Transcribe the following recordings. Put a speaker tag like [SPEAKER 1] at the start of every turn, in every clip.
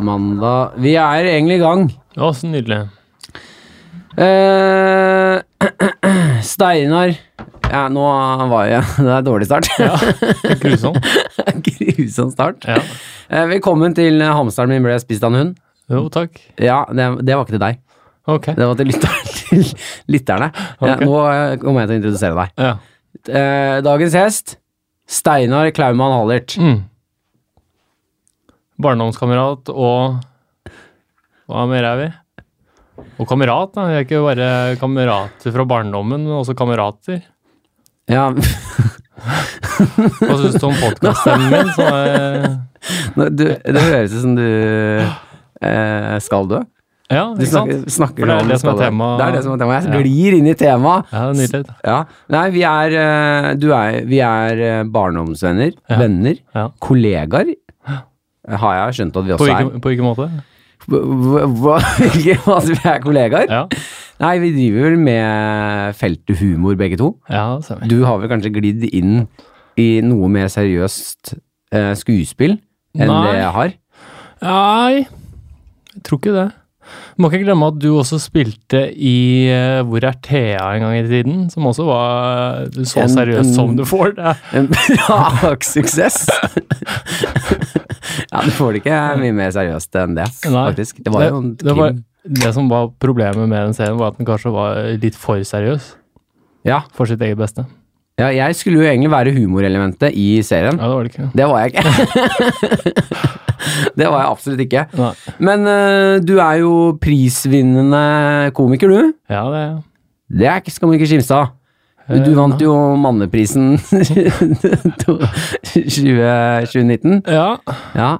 [SPEAKER 1] Mandag Vi er egentlig i gang.
[SPEAKER 2] Å, så nydelig.
[SPEAKER 1] Eh, Steinar Ja, nå var jeg Det er dårlig start.
[SPEAKER 2] Grusomt.
[SPEAKER 1] Grusom start.
[SPEAKER 2] Ja.
[SPEAKER 1] Eh, velkommen til Hamsteren min ble spist av en hund.
[SPEAKER 2] Jo, takk.
[SPEAKER 1] Ja, det, det var ikke til deg.
[SPEAKER 2] Ok.
[SPEAKER 1] Det var til lytter, til lytterne. Ja,
[SPEAKER 2] Ok.
[SPEAKER 1] nå eh, kommer jeg til å introdusere deg.
[SPEAKER 2] Ja.
[SPEAKER 1] Eh, dagens gjest Steinar Klaumann Hallert.
[SPEAKER 2] Mm. Barndomskamerat og Hva mer er vi? Og kamerat, da. Vi er ikke bare kamerater fra barndommen, men også kamerater.
[SPEAKER 1] Ja,
[SPEAKER 2] Hva syns du om podkaststemmen min? Som er
[SPEAKER 1] nå- du, det høres ut som du eh, skal dø.
[SPEAKER 2] Ja,
[SPEAKER 1] Du
[SPEAKER 2] ikke sant?
[SPEAKER 1] snakker, snakker
[SPEAKER 2] For det er
[SPEAKER 1] om
[SPEAKER 2] det som er
[SPEAKER 1] skal dø.
[SPEAKER 2] tema.
[SPEAKER 1] Det er det som er tema. Jeg
[SPEAKER 2] Ja.
[SPEAKER 1] glir inn i temaet.
[SPEAKER 2] Ja, det er nydelig.
[SPEAKER 1] Ja. Nei, vi er, eh, du er, vi er eh, barndomsvenner.
[SPEAKER 2] Ja.
[SPEAKER 1] Venner.
[SPEAKER 2] Ja.
[SPEAKER 1] Kollegaer. Har jeg skjønt at vi
[SPEAKER 2] På
[SPEAKER 1] også er.
[SPEAKER 2] hvilken, på hvilken måte?
[SPEAKER 1] Hva- hva- Hvilke altså, vi er kollegaer?
[SPEAKER 2] Ja,
[SPEAKER 1] Nei, vi driver vel med feltet humor, begge to.
[SPEAKER 2] ja det stemmer.
[SPEAKER 1] Du har vel kanskje glidd inn i noe mer seriøst eh, skuespill enn
[SPEAKER 2] Nei.
[SPEAKER 1] det jeg har?
[SPEAKER 2] Nei, jeg tror ikke det. Du må ikke glemme at du også spilte i eh, Hvor er Thea en gang i tiden? Som også var eh, så
[SPEAKER 1] En-
[SPEAKER 2] seriøs
[SPEAKER 1] en-
[SPEAKER 2] som du får det.
[SPEAKER 1] En braksuksess! ja, du får det ikke mye mer seriøst enn det,
[SPEAKER 2] Nei.
[SPEAKER 1] faktisk. Det var jo en
[SPEAKER 2] det, var,
[SPEAKER 1] krim.
[SPEAKER 2] det som var problemet med den serien, var at den kanskje var litt for seriøs
[SPEAKER 1] Ja.
[SPEAKER 2] for sitt eget beste.
[SPEAKER 1] ja, jeg skulle jo egentlig være humorelementet i serien.
[SPEAKER 2] Ja, det var det ikke.
[SPEAKER 1] Det var jeg ikke. det var jeg absolutt ikke.
[SPEAKER 2] Nei.
[SPEAKER 1] Men eh, du er jo prisvinnende komiker, du.
[SPEAKER 2] Ja, det er
[SPEAKER 1] Det er ikke, skal man ikke skimse av.
[SPEAKER 2] Eh,
[SPEAKER 1] Du vant jo Manneprisen to- 20 2019.
[SPEAKER 2] ja.
[SPEAKER 1] Ja.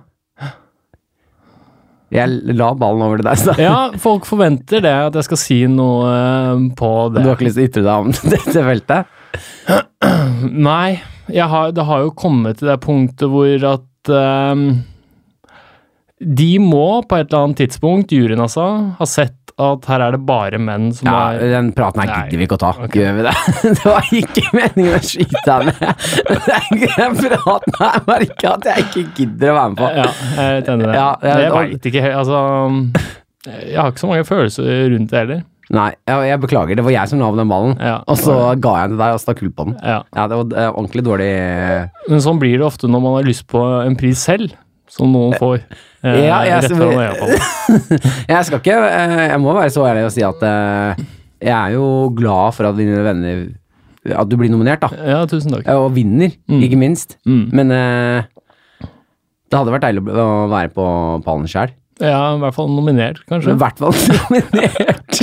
[SPEAKER 1] Jeg la ballen over til deg, så
[SPEAKER 2] ja, folk forventer det, at jeg skal si noe eh, på
[SPEAKER 1] du
[SPEAKER 2] det.
[SPEAKER 1] har ikke lyst til å ytre deg om dette feltet?
[SPEAKER 2] Nei, jeg har, det har jo kommet til det punktet hvor at ehm, De må på et eller annet tidspunkt, juryen altså, ha sett at her er det bare menn som
[SPEAKER 1] Ja,
[SPEAKER 2] er
[SPEAKER 1] den praten her
[SPEAKER 2] Nei.
[SPEAKER 1] gidder vi ikke å ta.
[SPEAKER 2] Ok.
[SPEAKER 1] Gjør vi det? Det var ikke meningen å skyte deg med. Den praten her merker jeg at jeg ikke gidder å være med på.
[SPEAKER 2] Ja, jeg er helt enig i det.
[SPEAKER 1] Ja, jeg-
[SPEAKER 2] jeg veit ikke helt Altså Jeg har ikke så mange følelser rundt det heller.
[SPEAKER 1] Nei, jeg, jeg beklager. Det var jeg som la over den ballen.
[SPEAKER 2] Ja.
[SPEAKER 1] Og så ga jeg den til deg og stakk hull på den.
[SPEAKER 2] Ja.
[SPEAKER 1] Ja, det var eh, ordentlig dårlig
[SPEAKER 2] Men sånn blir det ofte når man har lyst på en pris selv, som noen får. eh,
[SPEAKER 1] Ja, jeg-
[SPEAKER 2] rett fra når jeg var på den.
[SPEAKER 1] Jeg skal ikke eh, Jeg må være så ærlig og si at eh, jeg er jo glad for at dine venner At du blir nominert, da.
[SPEAKER 2] Ja, tusen takk.
[SPEAKER 1] Og vinner, ikke minst.
[SPEAKER 2] Mm.
[SPEAKER 1] Men eh, det hadde vært deilig å bli- å være på pallen sjøl.
[SPEAKER 2] Ja, i hvert fall nominert,
[SPEAKER 1] Men
[SPEAKER 2] kanskje.
[SPEAKER 1] i hvert fall nominert.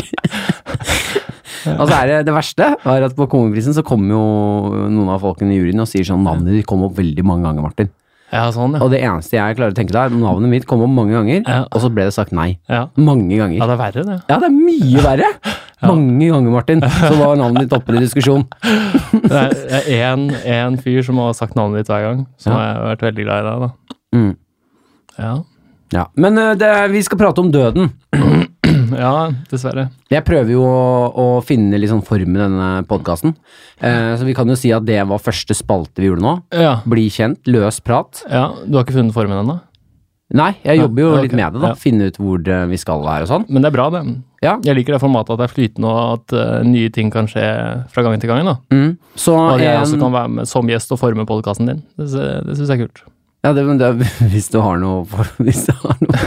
[SPEAKER 1] Og så er det det verste er at på Kongeprisen så kommer jo noen av folkene i juryen og sier sånn navnet ditt kom opp veldig mange ganger, Martin.
[SPEAKER 2] Ja, sånn, ja.
[SPEAKER 1] Og det eneste jeg klarer å tenke da, er navnet mitt kom opp mange ganger,
[SPEAKER 2] Ja.
[SPEAKER 1] og så ble det sagt nei.
[SPEAKER 2] Ja,
[SPEAKER 1] Mange ganger.
[SPEAKER 2] ja det er verre, det.
[SPEAKER 1] Ja, det er mye verre. Mange ganger, Martin, så var navnet ditt oppe til diskusjon.
[SPEAKER 2] Det er- det er en, en fyr som har sagt navnet ditt hver gang, som
[SPEAKER 1] Ja.
[SPEAKER 2] har vært veldig glad i deg, da.
[SPEAKER 1] Mm.
[SPEAKER 2] Ja.
[SPEAKER 1] Ja. Men eh, det, vi skal prate om døden.
[SPEAKER 2] ja, dessverre.
[SPEAKER 1] Jeg prøver jo å, å finne litt sånn form i denne podkasten. Eh, så vi kan jo si at det var første spalte vi gjorde nå.
[SPEAKER 2] Ja.
[SPEAKER 1] Bli kjent, løs prat.
[SPEAKER 2] ja. Du har ikke funnet formen ennå?
[SPEAKER 1] Nei, jeg
[SPEAKER 2] Nei,
[SPEAKER 1] jobber jo
[SPEAKER 2] ok,
[SPEAKER 1] litt med det, da.
[SPEAKER 2] ja.
[SPEAKER 1] Finne ut hvor eh, vi skal her og sånn.
[SPEAKER 2] Men det er bra, det.
[SPEAKER 1] Ja.
[SPEAKER 2] Jeg liker det formatet at det er flytende, og at eh, nye ting kan skje fra gang til gang. da.
[SPEAKER 1] Mm. Så
[SPEAKER 2] Og at jeg også
[SPEAKER 1] en,
[SPEAKER 2] kan være med som gjest og forme podkasten din. Det, sy- det syns jeg er kult.
[SPEAKER 1] ja, det, men det, Hvis du har noe for, Hvis du har noe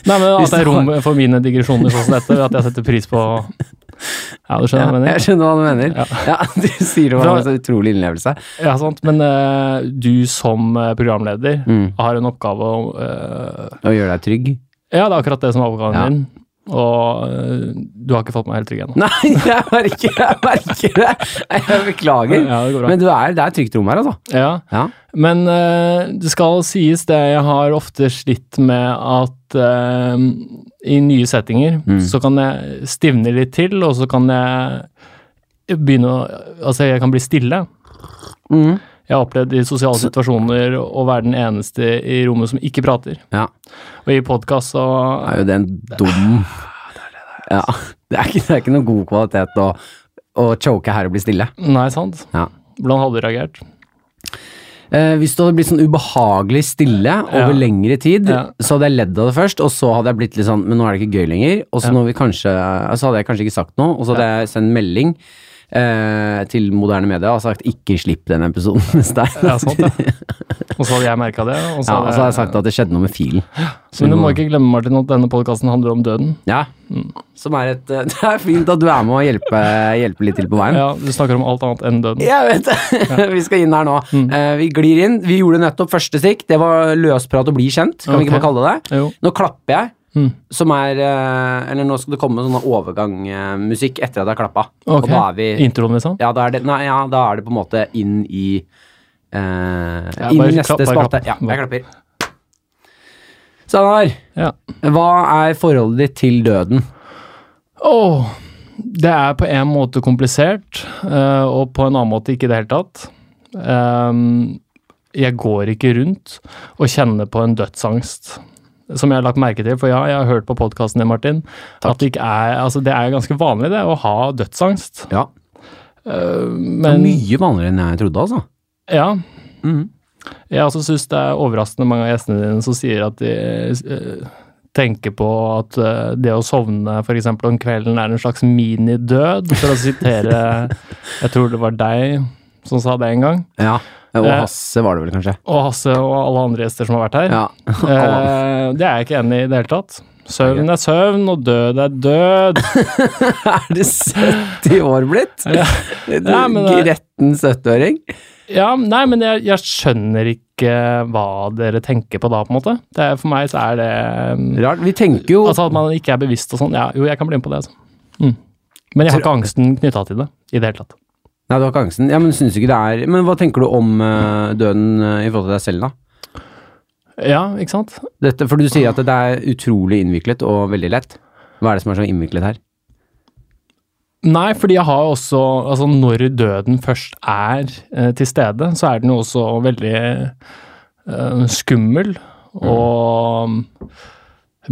[SPEAKER 2] Nei, men
[SPEAKER 1] Hvis
[SPEAKER 2] At det er
[SPEAKER 1] du har-
[SPEAKER 2] rom for mine digresjoner sånn som dette, at jeg setter pris på Ja, du skjønner hva
[SPEAKER 1] Jeg
[SPEAKER 2] jeg mener?
[SPEAKER 1] skjønner hva du mener. Ja, Du sier det var
[SPEAKER 2] Fra-
[SPEAKER 1] en så utrolig innlevelse.
[SPEAKER 2] Ja, sant. Men eh, du som eh, programleder
[SPEAKER 1] Mm.
[SPEAKER 2] har en oppgave om eh,
[SPEAKER 1] Å gjøre deg trygg.
[SPEAKER 2] Ja, det er akkurat det som er oppgaven
[SPEAKER 1] Ja.
[SPEAKER 2] din. Og øh, du har ikke fått meg helt trygg ennå.
[SPEAKER 1] Nei, jeg merker, jeg merker det. Jeg beklager.
[SPEAKER 2] Ja, det går bra.
[SPEAKER 1] Men du er, det er et trygt rom her, altså.
[SPEAKER 2] Ja.
[SPEAKER 1] Ja.
[SPEAKER 2] Men øh, det skal sies det jeg har ofte slitt med at øh, i nye settinger
[SPEAKER 1] Mm.
[SPEAKER 2] så kan jeg stivne litt til, og så kan jeg begynne å Altså, jeg kan bli stille.
[SPEAKER 1] Mm.
[SPEAKER 2] Jeg har opplevd i sosiale situasjoner å være den eneste i rommet som ikke prater.
[SPEAKER 1] Ja.
[SPEAKER 2] Og i podkast så
[SPEAKER 1] Er jo det en dum ja. det, er ikke, det er ikke noen god kvalitet å, å choke her og bli stille.
[SPEAKER 2] Nei, sant?
[SPEAKER 1] Ja.
[SPEAKER 2] Hvordan hadde du reagert?
[SPEAKER 1] Eh, hvis det hadde blitt sånn ubehagelig stille over lengre tid,
[SPEAKER 2] Ja.
[SPEAKER 1] så hadde jeg ledd av det først, og så hadde jeg blitt litt sånn Men nå er det ikke gøy lenger. Og så
[SPEAKER 2] Ja.
[SPEAKER 1] når vi kanskje, eh, så hadde jeg kanskje ikke sagt noe, og så hadde jeg sendt melding eh, til moderne media og sagt 'ikke slipp den episoden hvis det er
[SPEAKER 2] Ja, sånn. sant det. Og så hadde jeg merka det. Og så
[SPEAKER 1] Ja, altså, og så hadde jeg
[SPEAKER 2] hadde
[SPEAKER 1] sagt at det skjedde noe med filen.
[SPEAKER 2] Men du må ikke glemme, Martin, at denne podkasten handler om døden.
[SPEAKER 1] Ja.
[SPEAKER 2] Mm.
[SPEAKER 1] Som er et eh, Det er fint at du er med og hjelper hjelpe litt til på veien.
[SPEAKER 2] Ja, Du snakker om alt annet enn døden.
[SPEAKER 1] Jeg vet det! vi skal inn her nå.
[SPEAKER 2] Mm.
[SPEAKER 1] Eh, vi glir inn. Vi gjorde nettopp første stikk. Det var løsprat og bli kjent, kan vi ikke
[SPEAKER 2] Ok.
[SPEAKER 1] bare kalle det det?
[SPEAKER 2] Jo.
[SPEAKER 1] Nå klapper jeg,
[SPEAKER 2] Mm.
[SPEAKER 1] som er eh, Eller nå skal det komme sånn overgangmusikk etter at jeg har klappa.
[SPEAKER 2] Ok.
[SPEAKER 1] Og da er vi
[SPEAKER 2] Introen, liksom?
[SPEAKER 1] ja da, er det, nei, ja, da er det på en måte inn i eh, Inn
[SPEAKER 2] bare
[SPEAKER 1] i neste
[SPEAKER 2] klapp, bare
[SPEAKER 1] spalte.
[SPEAKER 2] klapp.
[SPEAKER 1] Ja, jeg klapper. Steinar,
[SPEAKER 2] Ja.
[SPEAKER 1] hva er forholdet ditt til døden?
[SPEAKER 2] Åh, det er på en måte komplisert, eh, og på en annen måte ikke i det hele tatt. Ehm, jeg går ikke rundt og kjenner på en dødsangst, som jeg har lagt merke til. For ja, jeg har hørt på podkasten din, Martin, at det, ikke er, altså, det er ganske vanlig det, å ha dødsangst.
[SPEAKER 1] Ja,
[SPEAKER 2] Eh,
[SPEAKER 1] Det er
[SPEAKER 2] men
[SPEAKER 1] mye vanligere enn jeg trodde, altså.
[SPEAKER 2] ja,
[SPEAKER 1] Mhm.
[SPEAKER 2] jeg også syns det er overraskende mange av gjestene dine som sier at de eh, tenker på at eh, det å sovne f.eks. om kvelden er en slags minidød, for å sitere Jeg tror det var deg som sa det en gang,
[SPEAKER 1] Ja, og
[SPEAKER 2] Eh,
[SPEAKER 1] Hasse var det vel kanskje.
[SPEAKER 2] og Hasse og alle andre gjester som har vært her.
[SPEAKER 1] Ja.
[SPEAKER 2] Eh, det er jeg ikke enig i i det hele tatt. Søvn er søvn, og død er død.
[SPEAKER 1] er det 70 år blitt?
[SPEAKER 2] Ja. Ja, men eh, det-
[SPEAKER 1] Gretten 70-åring?
[SPEAKER 2] Ja, nei, men jeg, jeg skjønner ikke hva dere tenker på da, på en måte. Det, er- for meg så er det mm,
[SPEAKER 1] Rart. Vi tenker jo
[SPEAKER 2] Altså at man ikke er bevisst og sånn. Ja, jo, jeg kan bli med på det. Altså. Mm. Men jeg har ikke angsten knytta til det i det hele tatt.
[SPEAKER 1] Nei, du har ikke angsten. Ja, men synes du ikke det er Men hva tenker du om eh, døden eh, i forhold til deg selv, da?
[SPEAKER 2] Ja, ikke sant?
[SPEAKER 1] Dette, for du sier at det er utrolig innviklet og veldig lett. Hva er det som er så innviklet her?
[SPEAKER 2] Nei, fordi jeg har også Altså, når døden først er eh, til stede, så er den jo også veldig eh, skummel og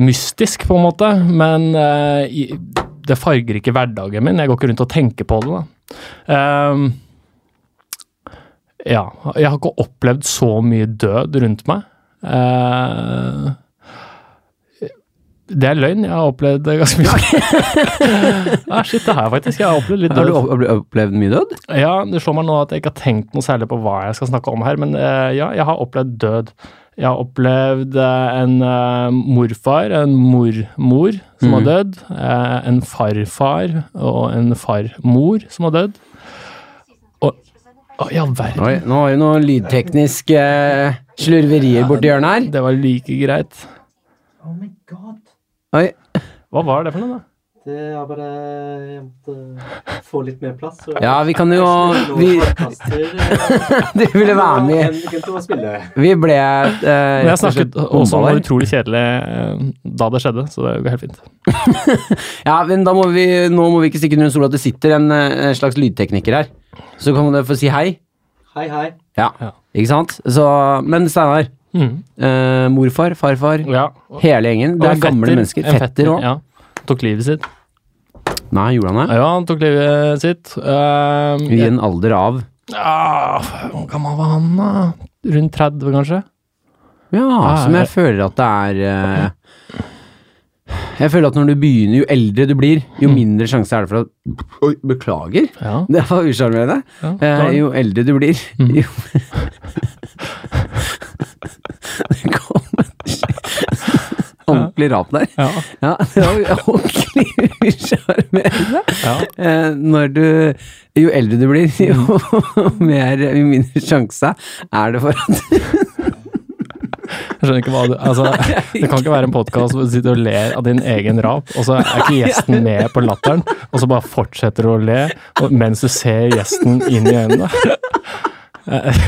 [SPEAKER 2] mystisk, på en måte. Men eh, i, det farger ikke hverdagen min. Jeg går ikke rundt og tenker på det, da. Ehm, ja. Jeg har ikke opplevd så mye død rundt meg. Eh, det er løgn. Jeg har opplevd det ganske mye. Nei, shit, det har jeg faktisk. Jeg har opplevd litt
[SPEAKER 1] Har du
[SPEAKER 2] død.
[SPEAKER 1] opp- opplevd mye død?
[SPEAKER 2] Ja, Det slår meg nå at jeg ikke har tenkt noe særlig på hva jeg skal snakke om her, men eh, ja, jeg har opplevd død. Jeg har opplevd eh, en eh, morfar, en mormor som
[SPEAKER 1] Mm.
[SPEAKER 2] har dødd, eh, en farfar og en farmor som har dødd. Og å, i all verden,
[SPEAKER 1] Oi, nå har vi noen lydtekniske eh, slurverier borti hjørnet her.
[SPEAKER 2] det var like greit.
[SPEAKER 3] Oh my god.
[SPEAKER 1] Oi.
[SPEAKER 2] Hva var det for noe, da?
[SPEAKER 3] Det er bare Jeg måtte få litt mer plass. Så
[SPEAKER 1] Ja, vi kan jo vi,
[SPEAKER 3] Du
[SPEAKER 1] Du ville være med.
[SPEAKER 3] Kunne spille.
[SPEAKER 1] Vi ble eh, rett
[SPEAKER 2] Men jeg
[SPEAKER 1] og slett
[SPEAKER 2] snakket også om
[SPEAKER 1] bomba
[SPEAKER 2] noe
[SPEAKER 1] der.
[SPEAKER 2] utrolig kjedelig eh, da det skjedde, så det går helt fint.
[SPEAKER 1] Ja, men da må vi, nå må vi ikke stikke under en stol at det sitter en, eh, slags lydtekniker her. Så kan dere få si hei.
[SPEAKER 3] Hei, hei.
[SPEAKER 1] Ja,
[SPEAKER 2] Ja.
[SPEAKER 1] ikke sant? Så, men Steinar, eh, morfar, farfar,
[SPEAKER 2] Mm. Ja.
[SPEAKER 1] hele gjengen. Det
[SPEAKER 2] Og
[SPEAKER 1] er
[SPEAKER 2] en
[SPEAKER 1] gamle
[SPEAKER 2] fetter,
[SPEAKER 1] mennesker.
[SPEAKER 2] en
[SPEAKER 1] Fetter òg.
[SPEAKER 2] Ja. Tok livet sitt.
[SPEAKER 1] Nei, gjorde han det?
[SPEAKER 2] Ja, han tok livet sitt. Ehm,
[SPEAKER 1] I en alder av
[SPEAKER 2] ah, Hvor gammel var han, da? Rundt 30, kanskje?
[SPEAKER 1] Ja,
[SPEAKER 2] Ah,
[SPEAKER 1] som jeg
[SPEAKER 2] ja.
[SPEAKER 1] føler at det er eh, Jeg føler at når du begynner, jo eldre du blir,
[SPEAKER 2] Mm.
[SPEAKER 1] jo mindre sjanse er det for at Oi, beklager.
[SPEAKER 2] Ja.
[SPEAKER 1] Det var usjarmerende.
[SPEAKER 2] Ja,
[SPEAKER 1] Eh,
[SPEAKER 2] klar.
[SPEAKER 1] jo eldre du blir,
[SPEAKER 2] Mm.
[SPEAKER 1] jo Det kom et ordentlig rap der.
[SPEAKER 2] Ja.
[SPEAKER 1] Ja, det var jo ordentlig usjarmerende.
[SPEAKER 2] ja.
[SPEAKER 1] Eh, når du Jo eldre du blir, jo mer Jo mindre sjanse er det for at
[SPEAKER 2] Jeg skjønner ikke hva du Altså, det kan ikke være en podkast hvor du sitter og ler av din egen rap, og så er ikke gjesten med på latteren, og så bare fortsetter du å le og, mens du ser gjesten inn i øynene. Eh,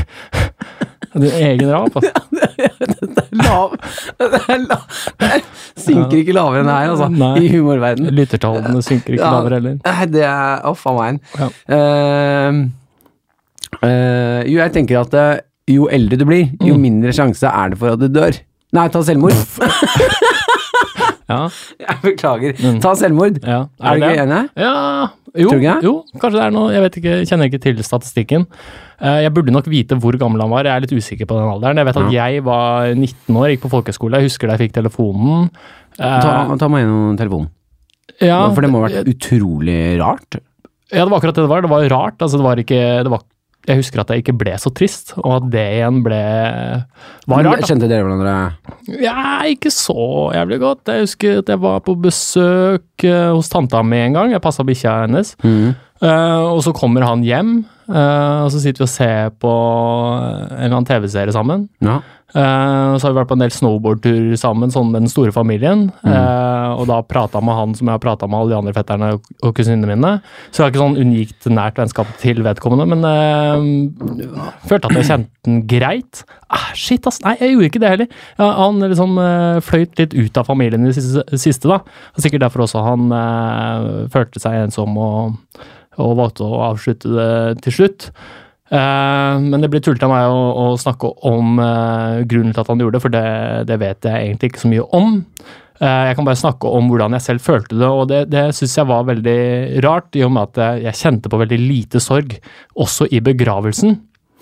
[SPEAKER 2] Din egen rap, altså.
[SPEAKER 1] lav Det er lav det er, Synker ikke lavere enn det her, altså.
[SPEAKER 2] Nei.
[SPEAKER 1] I humorverdenen.
[SPEAKER 2] Lyttertallene synker ikke lavere heller.
[SPEAKER 1] Nei, det er Å, faen meg.
[SPEAKER 2] Ja.
[SPEAKER 1] Eh, eh, jo, jeg tenker at eh, jo eldre du blir, jo
[SPEAKER 2] Mm.
[SPEAKER 1] mindre sjanse er det for at du dør. Nei, ta selvmord.
[SPEAKER 2] Ja,
[SPEAKER 1] Jeg beklager. Ta selvmord.
[SPEAKER 2] Mm. ja.
[SPEAKER 1] Er du ikke enig?
[SPEAKER 2] Ja, Jo,
[SPEAKER 1] Tror du ikke det?
[SPEAKER 2] jo, kanskje det er noe Jeg vet ikke, jeg kjenner ikke til statistikken. Eh, Jeg burde nok vite hvor gammel han var. Jeg er litt usikker på den alderen. Jeg vet at jeg var 19 år, gikk på folkehøyskole. Jeg husker da jeg fikk telefonen. Eh,
[SPEAKER 1] Ta, ta meg gjennom telefonen.
[SPEAKER 2] ja,
[SPEAKER 1] For det må ha vært utrolig rart.
[SPEAKER 2] ja, det var akkurat det det var. Det var rart. Altså, det var ikke det var, Jeg husker at jeg ikke ble så trist, og at det igjen ble var rart. da.
[SPEAKER 1] Kjente dere hverandre?
[SPEAKER 2] Ja, ikke så jævlig godt. Jeg husker at jeg var på besøk eh, hos tanta mi en gang. Jeg passa bikkja hennes.
[SPEAKER 1] Mhm.
[SPEAKER 2] Eh, og så kommer han hjem, eh, og så sitter vi og ser på en eller annen TV-serie sammen.
[SPEAKER 1] Ja.
[SPEAKER 2] Eh, og så har vi vært på en del snowboardtur sammen, sånn med den store familien. Eh, og da prata jeg med han som jeg har prata med alle de andre fetterne og, og kusinene mine. Så jeg har ikke sånn unikt nært vennskap til vedkommende, men eh, følte at jeg kjente den greit. Ah, shit, ass. Nei, jeg gjorde ikke det heller. Ja, han liksom eh, fløyt litt ut av familien i det siste, siste da. Og sikkert derfor også han eh, følte seg ensom og, og valgte å avslutte det til slutt. Eh, men det blir tullete av meg å, å snakke om eh, grunnen til at han gjorde det, for det, det vet jeg egentlig ikke så mye om. Eh, jeg kan bare snakke om hvordan jeg selv følte det, og det, det syns jeg var veldig rart, i og med at jeg, jeg kjente på veldig lite sorg, også i begravelsen.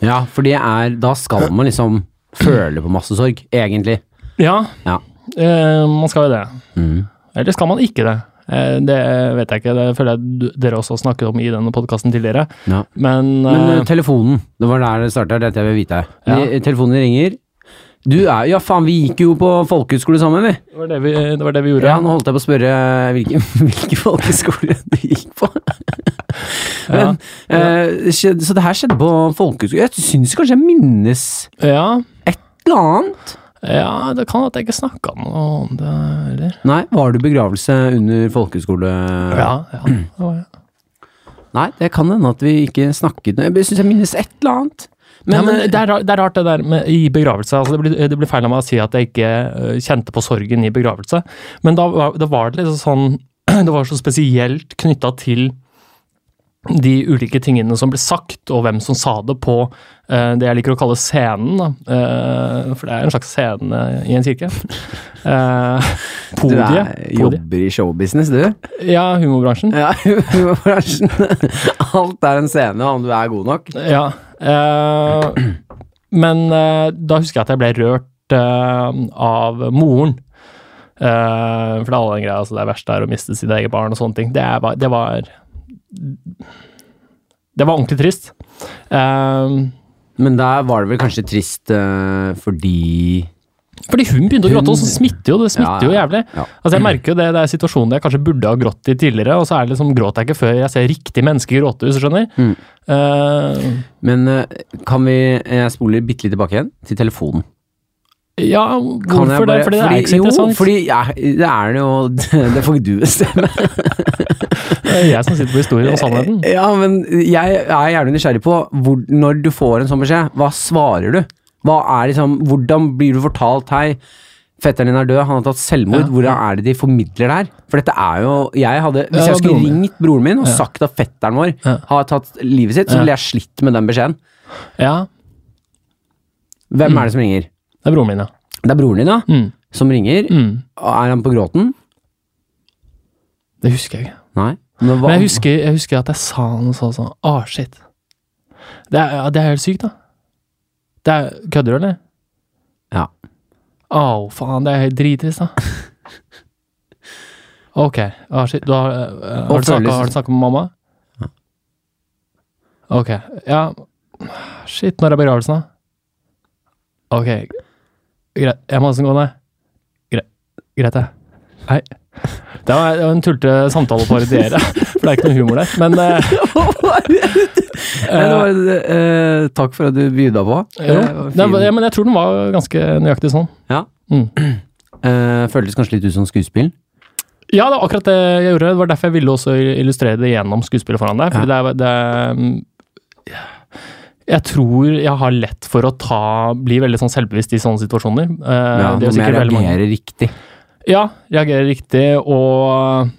[SPEAKER 1] ja, for det er Da skal man liksom føle på masse sorg, egentlig.
[SPEAKER 2] Ja,
[SPEAKER 1] Ja.
[SPEAKER 2] eh, man skal jo det.
[SPEAKER 1] Mhm.
[SPEAKER 2] Eller skal man ikke det? Eh, det vet jeg ikke, det føler jeg du- dere også har snakket om i denne podkasten tidligere,
[SPEAKER 1] ja.
[SPEAKER 2] men,
[SPEAKER 1] Men
[SPEAKER 2] eh,
[SPEAKER 1] eh, telefonen, det var der det starta, dette jeg vil vite.
[SPEAKER 2] Ja.
[SPEAKER 1] Vi- eh, Telefonen ringer. Du er Ja, faen, vi gikk jo på folkehøyskole sammen, vi.
[SPEAKER 2] det, var det, vi, det var det vi gjorde.
[SPEAKER 1] Ja, nå holdt jeg på å spørre eh, hvilken hvilke folkeskole du gikk på. Men, eh, skjed- så det her skjedde på folkeskole. Jeg syns kanskje jeg minnes
[SPEAKER 2] ja.
[SPEAKER 1] noe annet.
[SPEAKER 2] Ja, det kan at jeg ikke snakka noe om det, eller?
[SPEAKER 1] Nei, var det begravelse under folkeskole...?
[SPEAKER 2] ja. det var jeg.
[SPEAKER 1] Nei, det kan hende at vi ikke snakket noe. Jeg syns jeg minnes et eller annet. Men,
[SPEAKER 2] Nei, men
[SPEAKER 1] eh,
[SPEAKER 2] det, er, ra- det er rart det der med i begravelse. Altså, det, blir, det blir feil av meg å si at jeg ikke øh, kjente på sorgen i begravelse, men da var da var det liksom sånn Det var så spesielt knytta til de ulike tingene som ble sagt, og hvem som sa det på øh, det jeg liker å kalle scenen. Da. Eh, for det er en slags scene i en kirke. Eh,
[SPEAKER 1] du
[SPEAKER 2] podiet.
[SPEAKER 1] er,
[SPEAKER 2] podiet.
[SPEAKER 1] jobber i showbusiness, du.
[SPEAKER 2] Ja, humorbransjen.
[SPEAKER 1] Ja, humorbransjen. Alt er en scene, om du er god nok.
[SPEAKER 2] Ja. eh, men eh, da husker jeg at jeg ble rørt eh, av moren. Eh, for det er alle den greia, altså det verste er å miste sitt eget barn og sånne ting. Det, er, bare- det var Det var ordentlig trist. Eh,
[SPEAKER 1] Men der var det vel kanskje trist eh, fordi
[SPEAKER 2] fordi hun begynte å gråte,
[SPEAKER 1] Hun-
[SPEAKER 2] og så smitter jo det smitter
[SPEAKER 1] Ja, ja,
[SPEAKER 2] jo jævlig.
[SPEAKER 1] ja.
[SPEAKER 2] Altså Jeg merker jo det, det er situasjoner jeg kanskje burde ha grått i tidligere, og så er det liksom, gråter jeg ikke før jeg ser riktig menneske gråte, hvis du skjønner.
[SPEAKER 1] Mm.
[SPEAKER 2] Eh,
[SPEAKER 1] Men eh, kan vi Jeg spoler bitte litt tilbake igjen, til telefonen.
[SPEAKER 2] ja,
[SPEAKER 1] Kan jeg
[SPEAKER 2] hvorfor
[SPEAKER 1] bare-
[SPEAKER 2] det? Fordi det er ikke så interessant.
[SPEAKER 1] Jo, fordi ja, det er det jo Det får ikke du bestemme.
[SPEAKER 2] Det er jeg som sitter på historien og sannheten.
[SPEAKER 1] Ja, men jeg er gjerne nysgjerrig på hvor, når du får en sånn beskjed, hva svarer du? Hva er liksom Hvordan blir du fortalt hei, fetteren din er død, han har tatt selvmord,
[SPEAKER 2] Ja.
[SPEAKER 1] hvordan er det de formidler det her? For dette er jo Jeg hadde Hvis
[SPEAKER 2] Ja,
[SPEAKER 1] jeg skulle
[SPEAKER 2] broren min.
[SPEAKER 1] ringt broren min og sagt at fetteren vår
[SPEAKER 2] Ja.
[SPEAKER 1] har tatt livet sitt, så
[SPEAKER 2] Ja.
[SPEAKER 1] ville jeg slitt med den beskjeden.
[SPEAKER 2] Ja,
[SPEAKER 1] Hvem er det som ringer?
[SPEAKER 2] det er broren min, ja.
[SPEAKER 1] Det er broren din, da,
[SPEAKER 2] Mm,
[SPEAKER 1] som ringer.
[SPEAKER 2] mm.
[SPEAKER 1] Er han på gråten?
[SPEAKER 2] Det husker jeg ikke.
[SPEAKER 1] Nei. Men hva-
[SPEAKER 2] Men jeg husker, jeg husker at jeg sa noe sånn sånn Ah, shit. Det er, ja, det er helt sykt, da. Det er, kødder du, eller?
[SPEAKER 1] Ja.
[SPEAKER 2] Au, faen. Det er helt drittrist, da. Ok. Ah, shit. Du har, eh,
[SPEAKER 1] Og
[SPEAKER 2] har, du snakket,
[SPEAKER 1] føles-
[SPEAKER 2] har du snakka med mamma? Ok. Ja. Shit, når er begravelsen, da? Ok. Greit. Jeg må nesten gå ned. Greit, Greit det. Hei. Det var det var en tullete samtale å parodiere, for det er ikke noe humor der. Men eh,
[SPEAKER 1] Nei, det var, eh, takk for at du byda på.
[SPEAKER 2] Jo,
[SPEAKER 1] Det var
[SPEAKER 2] det, var-
[SPEAKER 1] fin.
[SPEAKER 2] ja, men jeg tror den var ganske nøyaktig sånn.
[SPEAKER 1] Ja.
[SPEAKER 2] Mm.
[SPEAKER 1] Eh, føltes kanskje litt ut som skuespill.
[SPEAKER 2] Ja, det var akkurat det jeg gjorde. Det var derfor jeg ville også illustrere det gjennom skuespillet foran deg. Fordi det er, det er mm, jeg tror jeg har lett for å ta, bli veldig sånn selvbevisst i sånne situasjoner. Eh,
[SPEAKER 1] Ja, Nå
[SPEAKER 2] det gjør
[SPEAKER 1] må jeg
[SPEAKER 2] sikkert veldig mange.
[SPEAKER 1] reagere riktig.
[SPEAKER 2] Ja, reagere riktig og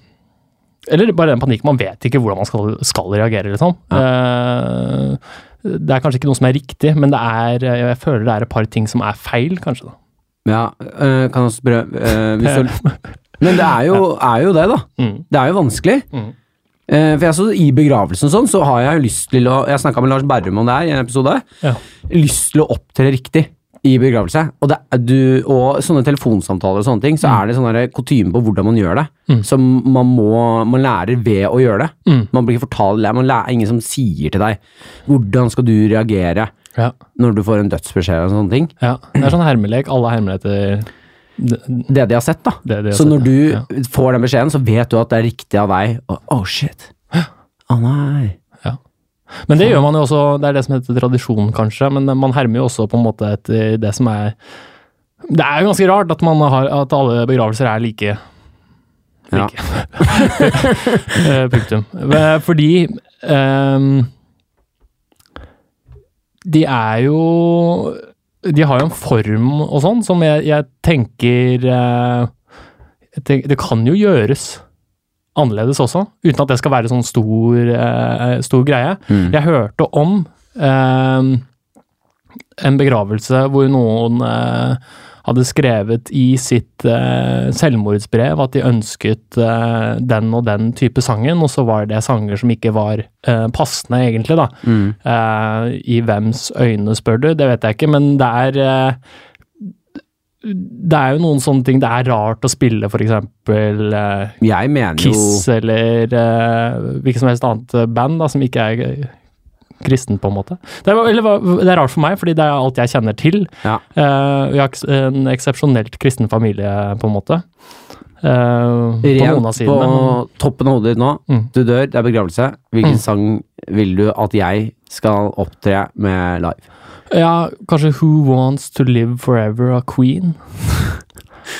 [SPEAKER 2] Eller bare den panikken. Man vet ikke hvordan man skal, skal reagere, liksom. Eh, det er kanskje ikke noe som er riktig, men det er, jeg føler det er et par ting som er feil, kanskje. da. Eh,
[SPEAKER 1] Ja, eh, kan jeg også prøve eh, hvis du... Men det er jo, er jo det, da.
[SPEAKER 2] Mm.
[SPEAKER 1] Det er jo vanskelig.
[SPEAKER 2] Mm.
[SPEAKER 1] Eh, for jeg så I begravelsen og sånn, så har jeg jo lyst til å Jeg snakka med Lars Berrum om det her i en episode.
[SPEAKER 2] Ja.
[SPEAKER 1] Lyst til å opptre riktig i begravelse. Og, det, er du, og sånne telefonsamtaler og sånne ting, så
[SPEAKER 2] Mm.
[SPEAKER 1] er det sånn her kutyme på hvordan man gjør det. Som man må Man lærer ved å gjøre det.
[SPEAKER 2] Mm.
[SPEAKER 1] Man blir ikke fortalt eller Man lærer ingen som sier til deg hvordan skal du reagere
[SPEAKER 2] Ja.
[SPEAKER 1] når du får en dødsbeskjed og sånne ting.
[SPEAKER 2] ja. Det er sånn hermelek. Alle hermer etter det-
[SPEAKER 1] Det de har sett, da.
[SPEAKER 2] det de har
[SPEAKER 1] så
[SPEAKER 2] sett,
[SPEAKER 1] når du
[SPEAKER 2] ja.
[SPEAKER 1] får den beskjeden, så vet du at det er riktig av deg. Og, oh shit. Å nei.
[SPEAKER 2] Men det gjør man jo også, det er det som heter tradisjon, kanskje, men man hermer jo også på en måte etter det som er Det er jo ganske rart at, man har, at alle begravelser er like.
[SPEAKER 1] Ja.
[SPEAKER 2] like. Eh, Punktum. Eh, Fordi ehm, De er jo De har jo en form og sånn som jeg, jeg tenker eh, jeg tenk- Det kan jo gjøres annerledes også, uten at det skal være sånn stor, eh, stor greie.
[SPEAKER 1] Mm.
[SPEAKER 2] Jeg hørte om eh, en begravelse hvor noen eh, hadde skrevet i sitt eh, selvmordsbrev at de ønsket eh, den og den type sangen, og så var det sanger som ikke var eh, passende, egentlig, da.
[SPEAKER 1] Mm.
[SPEAKER 2] Eh, I hvems øyne, spør du? Det vet jeg ikke, men det er eh, Det er jo noen sånne ting det er rart å spille, for eksempel eh,
[SPEAKER 1] Jeg mener jo
[SPEAKER 2] Kiss eller eh, hvilket som helst annet eh, band da, som ikke er eh, kristen, på en måte. Det er, eller, hva- det er rart for meg, fordi det er alt jeg kjenner til.
[SPEAKER 1] Ja.
[SPEAKER 2] Eh, vi har eks- en eksepsjonelt kristen familie, på en måte. Eh, på
[SPEAKER 1] Rent
[SPEAKER 2] noen
[SPEAKER 1] på,
[SPEAKER 2] av sidene. men-
[SPEAKER 1] toppen av hodet ditt nå.
[SPEAKER 2] Mm.
[SPEAKER 1] Du dør, det er begravelse. Hvilken
[SPEAKER 2] Mm.
[SPEAKER 1] sang vil du at jeg skal opptre med live?
[SPEAKER 2] Ja, kanskje Who Wants To Live Forever av Queen.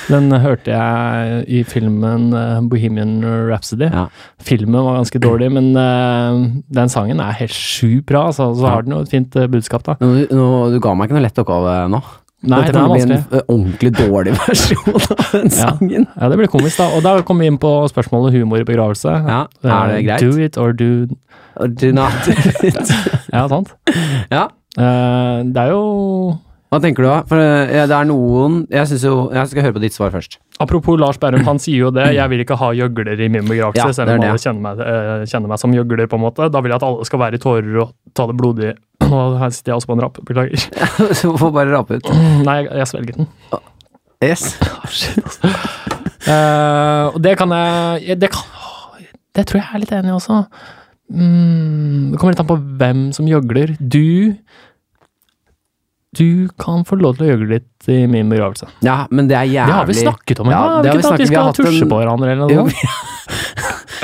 [SPEAKER 2] Den eh, hørte jeg i filmen eh, Bohemian Rhapsody.
[SPEAKER 1] Ja.
[SPEAKER 2] Filmen var ganske dårlig, men eh, den sangen er helt sjukt bra. Altså, så har den jo et fint eh, budskap, da.
[SPEAKER 1] Nå, nå, du ga meg ikke noe lett oppgave nå.
[SPEAKER 2] Nei,
[SPEAKER 1] Dette
[SPEAKER 2] det er
[SPEAKER 1] kommer til å
[SPEAKER 2] vanskelig.
[SPEAKER 1] bli en eh, ordentlig dårlig versjon av den
[SPEAKER 2] Ja.
[SPEAKER 1] sangen.
[SPEAKER 2] Ja, det blir komisk, da. Og da kommer vi inn på spørsmålet humor i begravelse.
[SPEAKER 1] Ja, Er det
[SPEAKER 2] Eh,
[SPEAKER 1] greit?
[SPEAKER 2] Do it or do
[SPEAKER 1] Do not do it.
[SPEAKER 2] Ja, sant?
[SPEAKER 1] Ja.
[SPEAKER 2] Eh, det er jo
[SPEAKER 1] Hva tenker du da? For eh, ja, det er noen Jeg synes jo Jeg skal høre på ditt svar først.
[SPEAKER 2] Apropos Lars Berrum, han sier jo det. Jeg vil ikke ha gjøgler i min begravelse,
[SPEAKER 1] Ja, det
[SPEAKER 2] selv
[SPEAKER 1] er
[SPEAKER 2] om
[SPEAKER 1] det.
[SPEAKER 2] alle kjenner meg, eh, kjenner meg som gjøgler, på en måte. Da vil jeg at alle skal være i tårer og ta det blodig. Nå her sitter jeg også på en rapp, beklager.
[SPEAKER 1] Så får bare rape ut.
[SPEAKER 2] Nei, jeg, jeg svelget den.
[SPEAKER 1] Yes.
[SPEAKER 2] Eh, og det kan jeg det, kan, det tror jeg er litt enig i også. Mm, det kommer litt an på hvem som gjøgler. Du Du kan få lov til å gjøgle litt i min begravelse.
[SPEAKER 1] Ja, men det er jævlig
[SPEAKER 2] Det har vi snakket om, ja.
[SPEAKER 1] Ja,
[SPEAKER 2] har vi
[SPEAKER 1] det har vi
[SPEAKER 2] ikke det? At vi
[SPEAKER 1] snakket- vi har
[SPEAKER 2] skal
[SPEAKER 1] hatt en-
[SPEAKER 2] tusje på hverandre eller
[SPEAKER 1] Jo,
[SPEAKER 2] noe?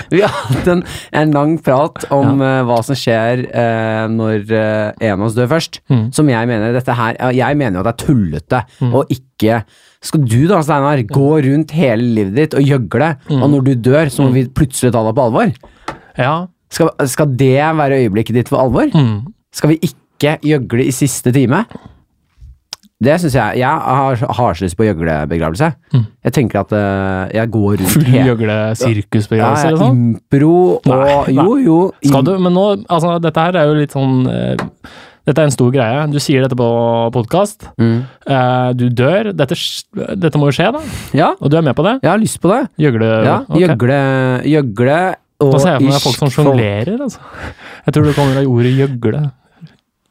[SPEAKER 1] Vi har hatt en, en lang prat om eh, hva som skjer eh, når eh, en av oss dør først.
[SPEAKER 2] Mm.
[SPEAKER 1] Som jeg mener dette her ja, Jeg mener jo at det er tullete og ikke Skal du da, Steinar, gå
[SPEAKER 2] Mm.
[SPEAKER 1] rundt hele livet ditt og gjøgle, og når du dør, så må vi plutselig ta deg på alvor?
[SPEAKER 2] Ja.
[SPEAKER 1] Skal, skal det være øyeblikket ditt for alvor?
[SPEAKER 2] Mm.
[SPEAKER 1] Skal vi ikke gjøgle i siste time? Det syns jeg. Jeg har, har så lyst på gjøglebegravelse. Jeg tenker at eh, jeg går rundt
[SPEAKER 2] Mm. Full
[SPEAKER 1] hele
[SPEAKER 2] gjøgle
[SPEAKER 1] ja,
[SPEAKER 2] sirkusbegravelse
[SPEAKER 1] ja,
[SPEAKER 2] eller sånn?
[SPEAKER 1] impro og
[SPEAKER 2] Nei, nei.
[SPEAKER 1] Jo, jo. im-
[SPEAKER 2] Skal du? Men nå, altså, dette her er jo litt sånn eh, Dette er en stor greie. Du sier dette på podkast.
[SPEAKER 1] Mm.
[SPEAKER 2] du dør. Dette, sk- dette må jo skje, da.
[SPEAKER 1] Ja,
[SPEAKER 2] Og du er med på det?
[SPEAKER 1] jeg har lyst på det.
[SPEAKER 2] Gjøgle...
[SPEAKER 1] Ja,
[SPEAKER 2] ok.
[SPEAKER 1] Gjøgle, gjøgle og
[SPEAKER 2] Da ser jeg for meg folk som
[SPEAKER 1] irsk folk.
[SPEAKER 2] sjonglerer, altså. Jeg tror det kommer av ordet gjøgle.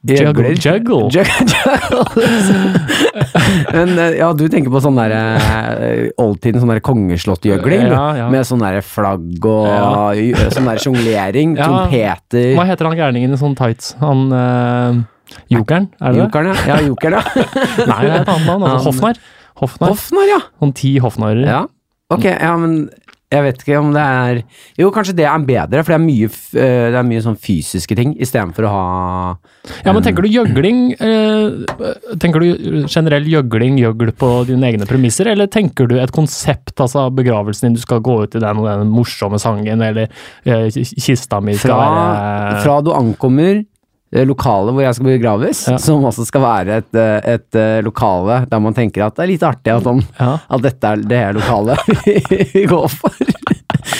[SPEAKER 1] Gjøgler.
[SPEAKER 2] Juggle. Juggle.
[SPEAKER 1] Jug- Men eh, ja, du tenker på sånn der eh, oldtiden, sånn der kongeslottgjøgling?
[SPEAKER 2] Ja, ja.
[SPEAKER 1] Med sånn der flagg og
[SPEAKER 2] Ja.
[SPEAKER 1] i- sånn der sjonglering,
[SPEAKER 2] Ja.
[SPEAKER 1] trompeter
[SPEAKER 2] Hva heter han gærningen i sånn tights? Han eh, Jokeren, er det det?
[SPEAKER 1] Jokeren, ja. ja. Jokeren, ja.
[SPEAKER 2] Nei, det er et annet
[SPEAKER 1] Han-
[SPEAKER 2] navn. Altså, Hofnar. Hofnar.
[SPEAKER 1] Hoffner, ja.
[SPEAKER 2] Sånn ti hoffnarer.
[SPEAKER 1] ja. Ok, ja, men jeg vet ikke om det er Jo, kanskje det er bedre, for det er mye, f- eh, det er mye sånn fysiske ting istedenfor å ha
[SPEAKER 2] Ja, men tenker du gjøgling eh, Tenker du generell gjøgling, gjøgl på dine egne premisser, eller tenker du et konsept, altså begravelsen din, du skal gå ut i den og den morsomme sangen, eller eh, kista mi skal
[SPEAKER 1] fra,
[SPEAKER 2] være
[SPEAKER 1] fra du ankommer eh, lokalet hvor jeg skal begraves,
[SPEAKER 2] Ja.
[SPEAKER 1] som også skal være et, eh, et eh, lokale der man tenker at det er litt artig at, han,
[SPEAKER 2] Ja.
[SPEAKER 1] at dette er det her lokalet vi går for.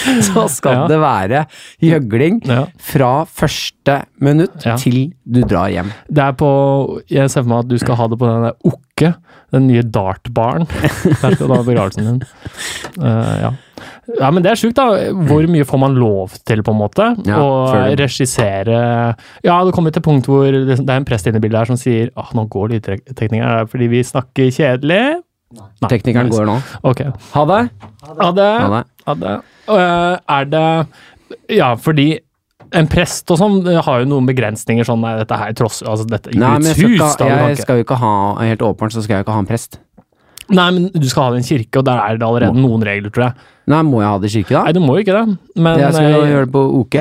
[SPEAKER 1] Så skal
[SPEAKER 2] Ja.
[SPEAKER 1] det være gjøgling
[SPEAKER 2] Ja.
[SPEAKER 1] fra første minutt
[SPEAKER 2] Ja.
[SPEAKER 1] til du drar hjem.
[SPEAKER 2] Det er på Jeg ser for meg at du skal ha det på den der Okke, den nye dartbaren. Der skal du ha begravelsen din. Eh, ja. Ja, men det er sjukt, da. Hvor mye får man lov til, på en måte?
[SPEAKER 1] Ja,
[SPEAKER 2] å
[SPEAKER 1] føler du.
[SPEAKER 2] regissere Ja, det kommer til et punkt hvor det det er en prest inne i bildet her som sier Åh, nå går lydteknikeren her fordi vi snakker kjedelig. Nei.
[SPEAKER 1] Teknikeren går nå.
[SPEAKER 2] Ok.
[SPEAKER 1] Ha det!
[SPEAKER 2] Ha det.
[SPEAKER 1] Ha det.
[SPEAKER 2] Ja, det. Øh, er det Ja, fordi en prest og sånn øh, har jo noen begrensninger sånn Nei, dette her tross altså, dette, i
[SPEAKER 1] Nei, men
[SPEAKER 2] Guds
[SPEAKER 1] jeg skal,
[SPEAKER 2] hus,
[SPEAKER 1] ikke,
[SPEAKER 2] da,
[SPEAKER 1] ha-
[SPEAKER 2] du kan
[SPEAKER 1] jeg
[SPEAKER 2] ikke-
[SPEAKER 1] skal jo ikke ha Helt åpenbart så skal jeg ikke ha en prest.
[SPEAKER 2] Nei, men du skal ha det i en kirke, og der er det allerede noen regler, tror jeg.
[SPEAKER 1] Nei, må jeg ha det i kirke,
[SPEAKER 2] Nei,
[SPEAKER 1] da?
[SPEAKER 2] du må jo ikke det, men
[SPEAKER 1] Jeg skal jo
[SPEAKER 2] øh,
[SPEAKER 1] gjøre det på OK.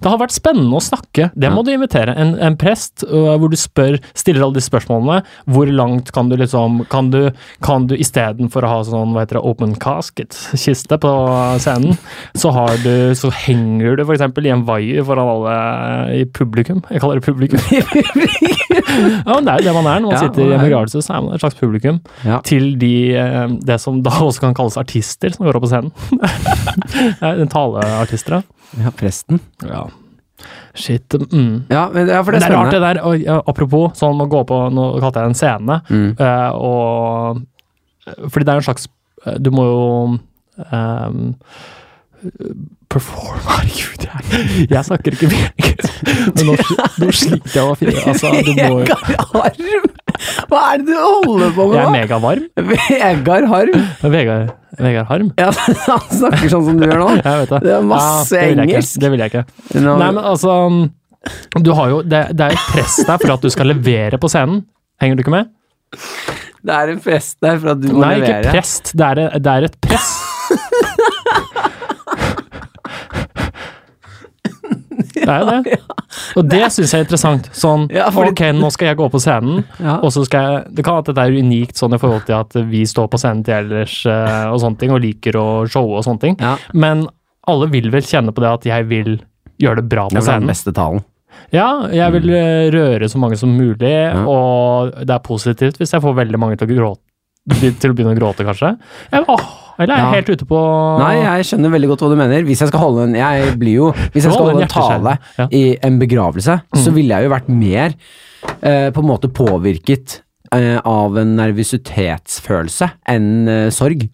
[SPEAKER 2] Det har vært spennende å snakke. Det må du invitere. En, en prest øh, hvor du spør, stiller alle de spørsmålene. Hvor langt kan du liksom Kan du, kan du istedenfor å ha sånn hva heter det, open casket-kiste på scenen, så, har du, så henger du f.eks. i en vaier foran alle i publikum. Jeg kaller det publikum. ja, men det er jo det man er når man
[SPEAKER 1] Ja,
[SPEAKER 2] sitter i
[SPEAKER 1] man
[SPEAKER 2] en
[SPEAKER 1] er.
[SPEAKER 2] begravelse. Så er man et slags publikum
[SPEAKER 1] Ja.
[SPEAKER 2] til de, øh, det som da også kan kalles artister, som går opp på scenen. Ja, Taleartister, da.
[SPEAKER 1] ja, presten.
[SPEAKER 2] Ja. Shit. Mm.
[SPEAKER 1] Ja, men, ja, for
[SPEAKER 2] Men
[SPEAKER 1] det er
[SPEAKER 2] det er rart
[SPEAKER 1] spennende.
[SPEAKER 2] det der, og, ja, apropos sånn å gå på Nå kalte jeg det en scene,
[SPEAKER 1] Mm.
[SPEAKER 2] eh, og Fordi det er en slags eh, Du må jo ehm, Perform Herregud, jeg, jeg snakker ikke meget. Men nå, sli- nå sliter jeg å finne Altså, du må jo
[SPEAKER 1] Vegard Harm! Hva er det du holder på
[SPEAKER 2] Jeg er
[SPEAKER 1] med nå?
[SPEAKER 2] megavarm.
[SPEAKER 1] Vegard Harm?
[SPEAKER 2] Vegard, Vegard Harm.
[SPEAKER 1] Ja, han snakker sånn som du gjør nå.
[SPEAKER 2] Jeg vet det.
[SPEAKER 1] Det er masse
[SPEAKER 2] Ja, det vil jeg ikke.
[SPEAKER 1] engelsk.
[SPEAKER 2] Det vil jeg ikke.
[SPEAKER 1] Nå-
[SPEAKER 2] Nei, men altså du har jo, det, det er jo press der for at du skal levere på scenen. Henger du ikke med?
[SPEAKER 1] Det er en prest der for at du må
[SPEAKER 2] Nei, ikke
[SPEAKER 1] levere.
[SPEAKER 2] prest. Det er, det er et press. Det er jo det. Og det syns jeg er interessant. Sånn,
[SPEAKER 1] Ja, fordi-
[SPEAKER 2] ok, nå skal jeg gå på scenen,
[SPEAKER 1] Ja.
[SPEAKER 2] og så skal jeg Det kan være at dette er unikt sånn i forhold til at vi står på scenen til ellers eh, og sånne ting, og liker å showe og sånne ting,
[SPEAKER 1] Ja.
[SPEAKER 2] men alle vil vel kjenne på det at jeg vil gjøre det bra
[SPEAKER 1] Det
[SPEAKER 2] på
[SPEAKER 1] var den
[SPEAKER 2] scenen.
[SPEAKER 1] beste talen.
[SPEAKER 2] Ja, jeg vil
[SPEAKER 1] Mm.
[SPEAKER 2] eh, røre så mange som mulig, og det er positivt hvis jeg får veldig mange til å gråte. Til å begynne å gråte, kanskje. Jeg, åh, eller er jeg
[SPEAKER 1] Ja.
[SPEAKER 2] helt ute på
[SPEAKER 1] Nei, jeg skjønner veldig godt hva du mener. Hvis jeg skal holde en, jeg blir jo, hvis jeg skal
[SPEAKER 2] Hold en
[SPEAKER 1] holde en tale
[SPEAKER 2] hjerteskjær. Ja. Mm.
[SPEAKER 1] i en begravelse, så ville jeg jo vært mer eh, på en måte påvirket eh, av en nervøsitetsfølelse enn eh, sorg,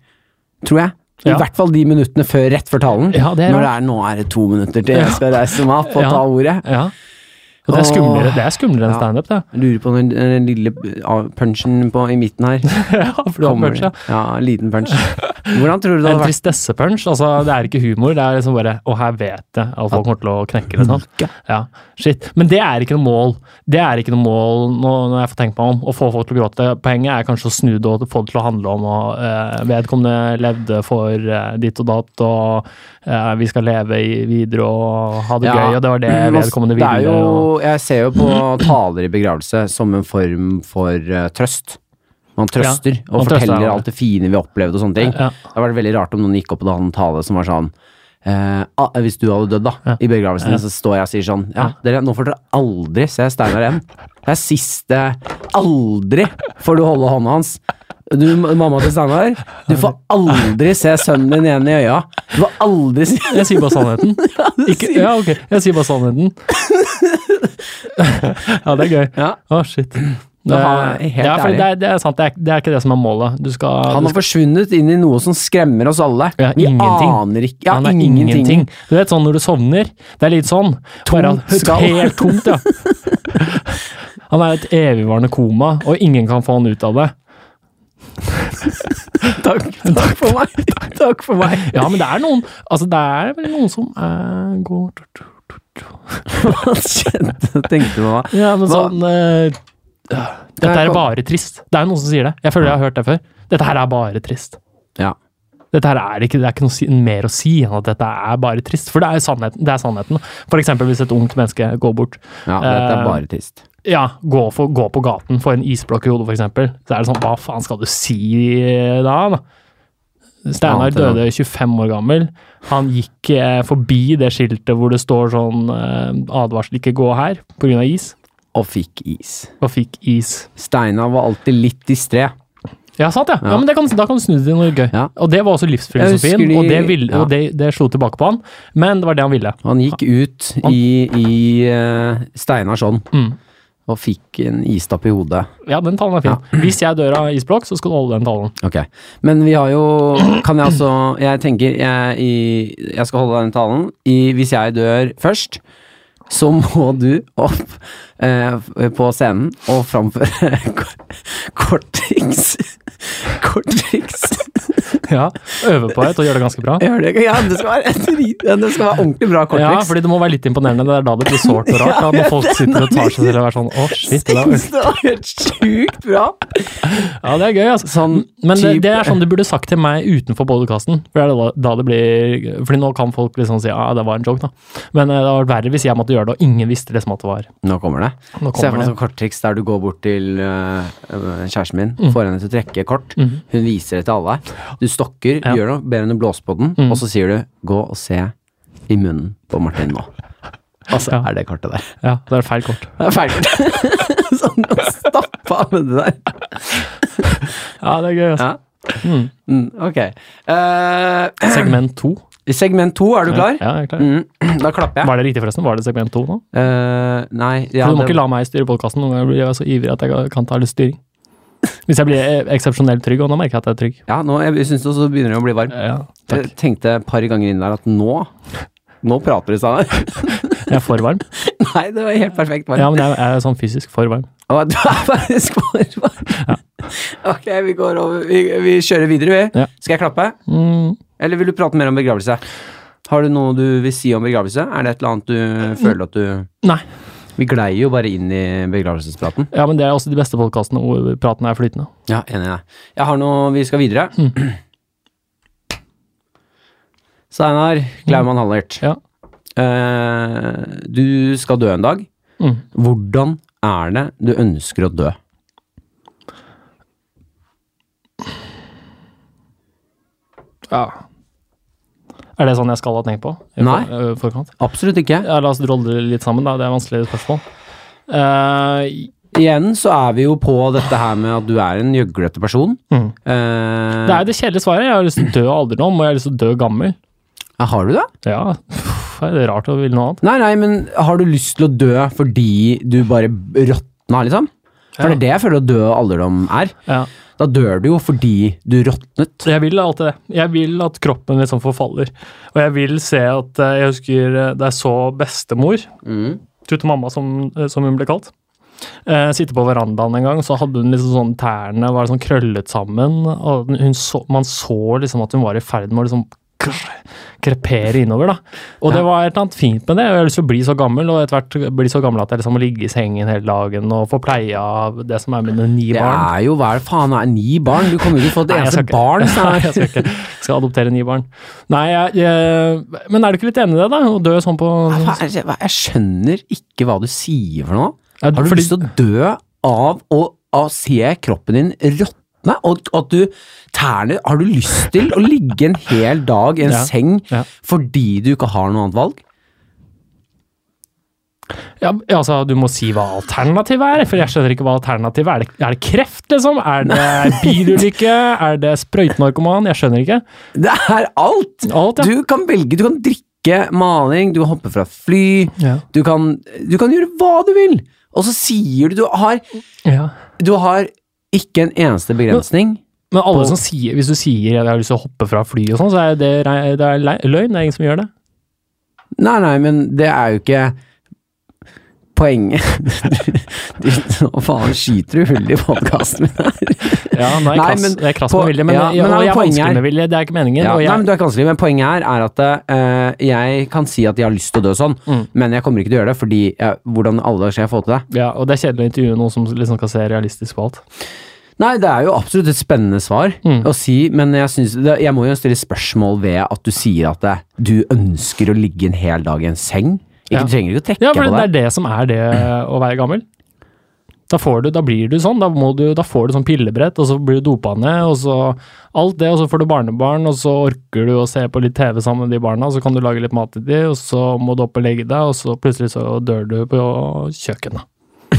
[SPEAKER 1] tror jeg. I
[SPEAKER 2] Ja.
[SPEAKER 1] hvert fall de minuttene før, rett før talen.
[SPEAKER 2] Ja, det er
[SPEAKER 1] når det
[SPEAKER 2] rart.
[SPEAKER 1] er nå er det to minutter til jeg skal reise meg opp og
[SPEAKER 2] Ja.
[SPEAKER 1] ta ordet.
[SPEAKER 2] Ja. Og det er skumlere,
[SPEAKER 1] Åh.
[SPEAKER 2] det er skumlere enn
[SPEAKER 1] Ja.
[SPEAKER 2] standup, det.
[SPEAKER 1] Jeg lurer på den, den lille eh, punchen på, i midten her.
[SPEAKER 2] Ja, for du har
[SPEAKER 1] Kommer
[SPEAKER 2] punch, ja.
[SPEAKER 1] det? Ja, en liten punch. Hvordan tror du det
[SPEAKER 2] En
[SPEAKER 1] hadde vært?
[SPEAKER 2] tristessepunch. Altså, det er ikke humor, det er liksom bare Å, her vet jeg at folk kommer til å knekke, liksom. Ja, shit. Men det er ikke noe mål. Det er ikke noe mål, nå, når jeg får tenkt meg om, å få folk til å gråte. Poenget er kanskje å snu det og få det til å handle om at vedkommende levde for eh, ditt og datt, og eh, vi skal leve i, videre og ha det
[SPEAKER 1] Ja,
[SPEAKER 2] gøy, og det var det
[SPEAKER 1] men altså,
[SPEAKER 2] vedkommende ville.
[SPEAKER 1] Det er
[SPEAKER 2] og,
[SPEAKER 1] jo, jeg ser jo på taler i begravelse som en form for eh, trøst. Man trøster og
[SPEAKER 2] man trøster
[SPEAKER 1] forteller
[SPEAKER 2] hverandre.
[SPEAKER 1] alt det fine vi har opplevd og sånne ting.
[SPEAKER 2] Ja.
[SPEAKER 1] Det hadde vært veldig rart om noen gikk opp og hadde en tale som var sånn eh, ah, Hvis du hadde dødd, da, i begravelsen, så står jeg og sier sånn Ja, dere, nå får dere aldri se Steinar igjen. Det er siste Aldri får du holde hånda hans. Du, mamma til Steinar, du får aldri se sønnen din igjen i øya. Du får aldri se
[SPEAKER 2] Jeg sier bare sannheten. Ikke, ja, ok. Jeg sier bare sannheten. Ja, det er gøy.
[SPEAKER 1] Ja.
[SPEAKER 2] Å, shit. Det,
[SPEAKER 1] har jeg helt
[SPEAKER 2] ja, for
[SPEAKER 1] ærlig.
[SPEAKER 2] det, er, det er sant, det er, det er ikke det som er målet. Du skal,
[SPEAKER 1] Han
[SPEAKER 2] du
[SPEAKER 1] har forsvunnet inn i noe som skremmer oss alle.
[SPEAKER 2] Ja,
[SPEAKER 1] Vi
[SPEAKER 2] ingenting.
[SPEAKER 1] aner ikke Ja,
[SPEAKER 2] Han er
[SPEAKER 1] ingenting.
[SPEAKER 2] Du vet sånn når du sovner, det er litt sånn. Bare at-
[SPEAKER 1] Tomt skall.
[SPEAKER 2] Helt tomt, ja. Han er i et evigvarende koma, og ingen kan få han ut av det.
[SPEAKER 1] Takk, takk for meg. Takk for meg.
[SPEAKER 2] Ja, men det er noen Altså, det er vel noen som eh, går
[SPEAKER 1] Hva skjedde, tenkte du nå?
[SPEAKER 2] Ja, men
[SPEAKER 1] Hva-
[SPEAKER 2] sånn eh, Dette er bare trist. Det er noen som sier det. Jeg føler jeg har hørt det før. Dette her er bare trist.
[SPEAKER 1] Ja.
[SPEAKER 2] Dette her er ikke, det er ikke noe si, mer å si enn at dette er bare trist. For det er jo sannheten. Det er sannheten. For eksempel hvis et ungt menneske går bort.
[SPEAKER 1] ja, dette er
[SPEAKER 2] Eh,
[SPEAKER 1] bare trist.
[SPEAKER 2] Ja, gå, for, gå på gaten, få en isblokk i hodet, for eksempel. Så er det sånn, hva faen skal du si da? da? Steinar
[SPEAKER 1] Annet enn
[SPEAKER 2] døde 25 år gammel. Han gikk eh, forbi det skiltet hvor det står sånn eh, advarsel ikke gå her, pga. is,
[SPEAKER 1] Og fikk is.
[SPEAKER 2] og fikk is.
[SPEAKER 1] Steinar var alltid litt distré.
[SPEAKER 2] Ja, sant, ja. ja.
[SPEAKER 1] Ja.
[SPEAKER 2] men det kan, da kan du snu det til noe gøy.
[SPEAKER 1] Ja.
[SPEAKER 2] Og det var også
[SPEAKER 1] Jeg
[SPEAKER 2] livsfilosofien,
[SPEAKER 1] husker de-
[SPEAKER 2] og, det, ville,
[SPEAKER 1] ja.
[SPEAKER 2] og det, det slo tilbake på han. Men det var det han ville.
[SPEAKER 1] Han gikk ut i, i eh, Steinars ånd.
[SPEAKER 2] Mm.
[SPEAKER 1] og fikk en istapp i hodet.
[SPEAKER 2] Ja, den tallen er fin. Hvis jeg dør av isblokk, så skal du holde den tallen.
[SPEAKER 1] Ok, Men vi har jo Kan jeg altså Jeg tenker jeg, i, jeg skal holde den talen. I, hvis jeg dør først, så må du opp eh, på scenen og framføre korttriks. Korttriks.
[SPEAKER 2] Ja, Øve på et og gjøre det ganske bra.
[SPEAKER 1] Gjør det? Ja, det skal være, drit- ja, det skal være ordentlig bra
[SPEAKER 2] Ja,
[SPEAKER 1] korttriks.
[SPEAKER 2] fordi det må være litt imponerende. Det er da det blir sårt og rart. Da, når folk sitter og tar seg til å være sånn Å, shit. Det var...
[SPEAKER 1] det var helt sjukt bra.
[SPEAKER 2] Ja, det er gøy, altså.
[SPEAKER 1] Sånn
[SPEAKER 2] Men det,
[SPEAKER 1] typ-
[SPEAKER 2] det er sånn du burde sagt til meg utenfor podkasten. For det er da- da det blir Fordi nå kan folk liksom si ja, det var en joke, da. Men eh, det hadde vært verre hvis jeg måtte gjøre det, og ingen visste liksom at det var
[SPEAKER 1] Nå kommer det.
[SPEAKER 2] Nå
[SPEAKER 1] Se for
[SPEAKER 2] kommer
[SPEAKER 1] deg
[SPEAKER 2] det.
[SPEAKER 1] sånn korttriks der du går bort til øh, øh, kjæresten min,
[SPEAKER 2] Mm.
[SPEAKER 1] får henne til å trekke kort. Hun viser det til alle. Du stokker,
[SPEAKER 2] Ja. Mm.
[SPEAKER 1] gjør noe, ber henne blåse på den, og så sier du 'gå og se i munnen på Martin nå'. Og så
[SPEAKER 2] Ja.
[SPEAKER 1] er det kortet der.
[SPEAKER 2] Ja, det er feil kort.
[SPEAKER 1] Det er ferdig. sånn stappa med det der.
[SPEAKER 2] Ja, det er gøy, altså.
[SPEAKER 1] Ja. Mm, ok. Eh,
[SPEAKER 2] Segment to.
[SPEAKER 1] I segment to, er du klar?
[SPEAKER 2] Ja, jeg er klar.
[SPEAKER 1] Mm, da klapper jeg.
[SPEAKER 2] Var det riktig, forresten? Var det segment to nå?
[SPEAKER 1] Eh, nei ja,
[SPEAKER 2] For du må
[SPEAKER 1] det-
[SPEAKER 2] ikke la meg styre podkasten. Noen ganger blir jeg så ivrig at jeg kan ta litt styring. Hvis jeg blir eh, eksepsjonelt trygg, og nå merker jeg at jeg er trygg.
[SPEAKER 1] ja, nå, Jeg syns også begynner det å bli varm.
[SPEAKER 2] Ja, takk.
[SPEAKER 1] Jeg tenkte et par ganger inn der at nå Nå prater de sammen.
[SPEAKER 2] Jeg er for varm.
[SPEAKER 1] Nei, det var helt perfekt. Bare.
[SPEAKER 2] Ja, men jeg er sånn fysisk for varm.
[SPEAKER 1] Å, Du er faktisk for varm. Ok, vi går over. Vi, vi kjører videre, vi.
[SPEAKER 2] Ja.
[SPEAKER 1] Skal jeg klappe?
[SPEAKER 2] Mm.
[SPEAKER 1] Eller vil du prate mer om begravelse? Har du noe du vil si om begravelse? Er det et eller annet du føler at du
[SPEAKER 2] Nei.
[SPEAKER 1] Vi glei jo bare inn i begravelsespraten.
[SPEAKER 2] Ja, men det er også de beste podkastene hvor praten er flytende.
[SPEAKER 1] Ja, enig i deg. Jeg har noe Vi skal videre.
[SPEAKER 2] Mm.
[SPEAKER 1] Steinar Klaumann Hallert.
[SPEAKER 2] Ja.
[SPEAKER 1] Eh, du skal dø en dag.
[SPEAKER 2] Mm.
[SPEAKER 1] Hvordan er det du ønsker å dø?
[SPEAKER 2] Ja. Er det sånn jeg skal ha tenkt på? i
[SPEAKER 1] Nei.
[SPEAKER 2] for- ø, forkant?
[SPEAKER 1] Absolutt ikke.
[SPEAKER 2] Ja, la oss drolle det litt sammen, da. Det er vanskelige spørsmål. Eh,
[SPEAKER 1] Igjen så er vi jo på dette her med at du er en gjøglete person.
[SPEAKER 2] Mm.
[SPEAKER 1] Eh,
[SPEAKER 2] det er det kjedelige svaret. Jeg har lyst til å dø av alderdom, og jeg har lyst til å dø gammel.
[SPEAKER 1] ja, Har du det?
[SPEAKER 2] Ja, Uff, er det rart å ville noe annet?
[SPEAKER 1] Nei, nei, men har du lyst til å dø fordi du bare råtna, liksom? For det er det jeg føler å dø av alderdom er.
[SPEAKER 2] Ja.
[SPEAKER 1] Da dør du jo fordi du råtnet.
[SPEAKER 2] Jeg vil alltid det. Jeg vil at kroppen liksom forfaller. Og jeg vil se at eh, Jeg husker eh, da jeg så bestemor, Tutte mamma som, eh, som hun ble kalt, eh, sitte på verandaen en gang, så hadde hun liksom sånn tærne var sånn krøllet sammen, og den- hun så, man så liksom at hun var i ferd med å liksom krr- krepere innover, da. Og det var et eller annet fint med det. og Jeg har lyst til å bli så gammel, og etter hvert bli så gammel at jeg liksom må ligge i sengen hele dagen og få pleie av det som er mine ni
[SPEAKER 1] Det
[SPEAKER 2] barn.
[SPEAKER 1] er jo hva er det faen er ni barn? Du kommer jo ikke til å få et
[SPEAKER 2] Nei, jeg
[SPEAKER 1] eneste
[SPEAKER 2] skal ikke.
[SPEAKER 1] barn.
[SPEAKER 2] Nei,
[SPEAKER 1] Steinar.
[SPEAKER 2] jeg skal ikke. Jeg skal adoptere ni barn. Nei, jeg, jeg, men er du ikke litt enig i det, da? Å dø sånn på
[SPEAKER 1] Hva er det- hva- Jeg skjønner ikke hva du sier for noe. Har
[SPEAKER 2] Ja,
[SPEAKER 1] du
[SPEAKER 2] fordi-
[SPEAKER 1] lyst til å dø av å, av å se kroppen din råtne? Og at du tærne Har du lyst til å ligge en hel dag i en
[SPEAKER 2] Ja,
[SPEAKER 1] seng
[SPEAKER 2] ja.
[SPEAKER 1] fordi du ikke har noe annet valg?
[SPEAKER 2] Ja, altså, du må si hva alternativet er, for jeg skjønner ikke hva alternativet er. Er det, er det kreft, liksom? Er det bilulykke? Er det sprøytenarkoman? Jeg skjønner ikke.
[SPEAKER 1] Det er alt!
[SPEAKER 2] Alt, ja.
[SPEAKER 1] Du kan velge. Du kan drikke maling, du kan hoppe fra et fly,
[SPEAKER 2] Ja.
[SPEAKER 1] du kan, du kan gjøre hva du vil! Og så sier du Du har,
[SPEAKER 2] ja.
[SPEAKER 1] du har ikke en eneste begrensning.
[SPEAKER 2] Men alle som sier, hvis du sier at jeg har lyst til å hoppe fra fly og sånn, så er det, rei- det er lei- løgn. Det er ingen som gjør det.
[SPEAKER 1] Nei, nei, men det er jo ikke poenget. Du- Nå faen skyter du hull i podkasten min her.
[SPEAKER 2] Ja, nei,
[SPEAKER 1] Nei,
[SPEAKER 2] krass,
[SPEAKER 1] men
[SPEAKER 2] det er krass
[SPEAKER 1] på-
[SPEAKER 2] med vilje, men,
[SPEAKER 1] ja, men
[SPEAKER 2] og
[SPEAKER 1] er det
[SPEAKER 2] jeg er
[SPEAKER 1] poenget her?
[SPEAKER 2] vanskelig med vilje, det er ikke meningen.
[SPEAKER 1] Ja, nei,
[SPEAKER 2] og
[SPEAKER 1] men
[SPEAKER 2] jeg,
[SPEAKER 1] du er ikke vanskelig, men poenget her er at eh, jeg kan si at jeg har lyst til å dø sånn,
[SPEAKER 2] Mm.
[SPEAKER 1] men jeg kommer ikke til å gjøre det, fordi jeg, hvordan i alle dager skal jeg få til det?
[SPEAKER 2] ja, og det er kjedelig å intervjue noen som liksom skal se realistisk på alt.
[SPEAKER 1] Nei, det er jo absolutt et spennende svar
[SPEAKER 2] Mm.
[SPEAKER 1] å si, men jeg, synes, det, jeg må jo stille spørsmål ved at du sier at eh, du ønsker å ligge en hel dag i en seng. Ikke,
[SPEAKER 2] Ja.
[SPEAKER 1] Du trenger ikke å trekke
[SPEAKER 2] Ja, for
[SPEAKER 1] på
[SPEAKER 2] det
[SPEAKER 1] det.
[SPEAKER 2] er det som er det å være gammel. Da, får du, da blir du sånn. Da, må du, da får du sånn pillebrett, og så blir du dopa ned, og så alt det, og så får du barnebarn, og så orker du å se på litt TV sammen med de barna, og så kan du lage litt mat til de, og så må du opp og legge deg, og så plutselig så dør du på kjøkkenet.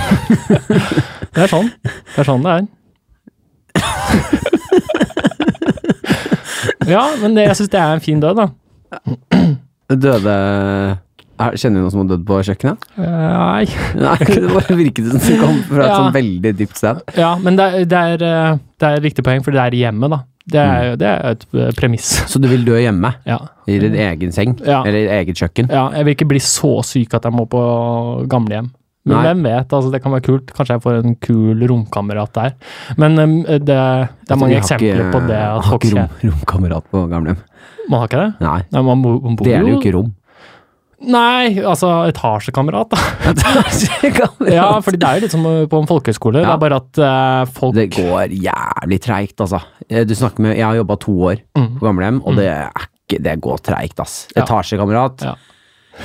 [SPEAKER 2] det er sånn. Det er sånn det er. ja, men det, jeg syns det er en fin død, da.
[SPEAKER 1] Døde Er- Kjenner du noen som har dødd på kjøkkenet?
[SPEAKER 2] Eh, Nei.
[SPEAKER 1] Nei, det bare virket som det kom fra et
[SPEAKER 2] Ja.
[SPEAKER 1] sånn veldig dypt sted.
[SPEAKER 2] Ja, men det er, det er, eh, det er riktig poeng, for det er hjemmet, da. Det
[SPEAKER 1] Mm.
[SPEAKER 2] er, jo- det er et eh, premiss.
[SPEAKER 1] Så du vil dø hjemme?
[SPEAKER 2] Ja.
[SPEAKER 1] I din egen seng?
[SPEAKER 2] Mm. Ja.
[SPEAKER 1] Eller i eget kjøkken?
[SPEAKER 2] ja. Jeg vil ikke bli så syk at jeg må på gamlehjem. Men
[SPEAKER 1] Nei.
[SPEAKER 2] hvem vet, altså det kan være kult. Kanskje jeg får en kul romkamerat der. Men em, det, det er mange
[SPEAKER 1] Jeg tror Altså, vi har
[SPEAKER 2] eksempler
[SPEAKER 1] ikke-
[SPEAKER 2] på det. At
[SPEAKER 1] Har
[SPEAKER 2] folk
[SPEAKER 1] ikke
[SPEAKER 2] sier
[SPEAKER 1] rom, romkamerat på gamlehjem.
[SPEAKER 2] Man har ikke det?
[SPEAKER 1] Nei.
[SPEAKER 2] Nei, man bo- man bor
[SPEAKER 1] Deler jo ikke rom.
[SPEAKER 2] Nei, altså etasjekamerat, da. Ja,
[SPEAKER 1] ja,
[SPEAKER 2] fordi det er jo litt som eh, på en folkehøyskole. Det
[SPEAKER 1] Ja.
[SPEAKER 2] er bare at eh, folk
[SPEAKER 1] Det går jævlig treigt, altså. Eh, Du snakker med Jeg har jobba to år
[SPEAKER 2] Mm.
[SPEAKER 1] på gamlehjem, og det er ikke Det går treigt, ass.
[SPEAKER 2] Ja.
[SPEAKER 1] Etasjekamerat.
[SPEAKER 2] Ja.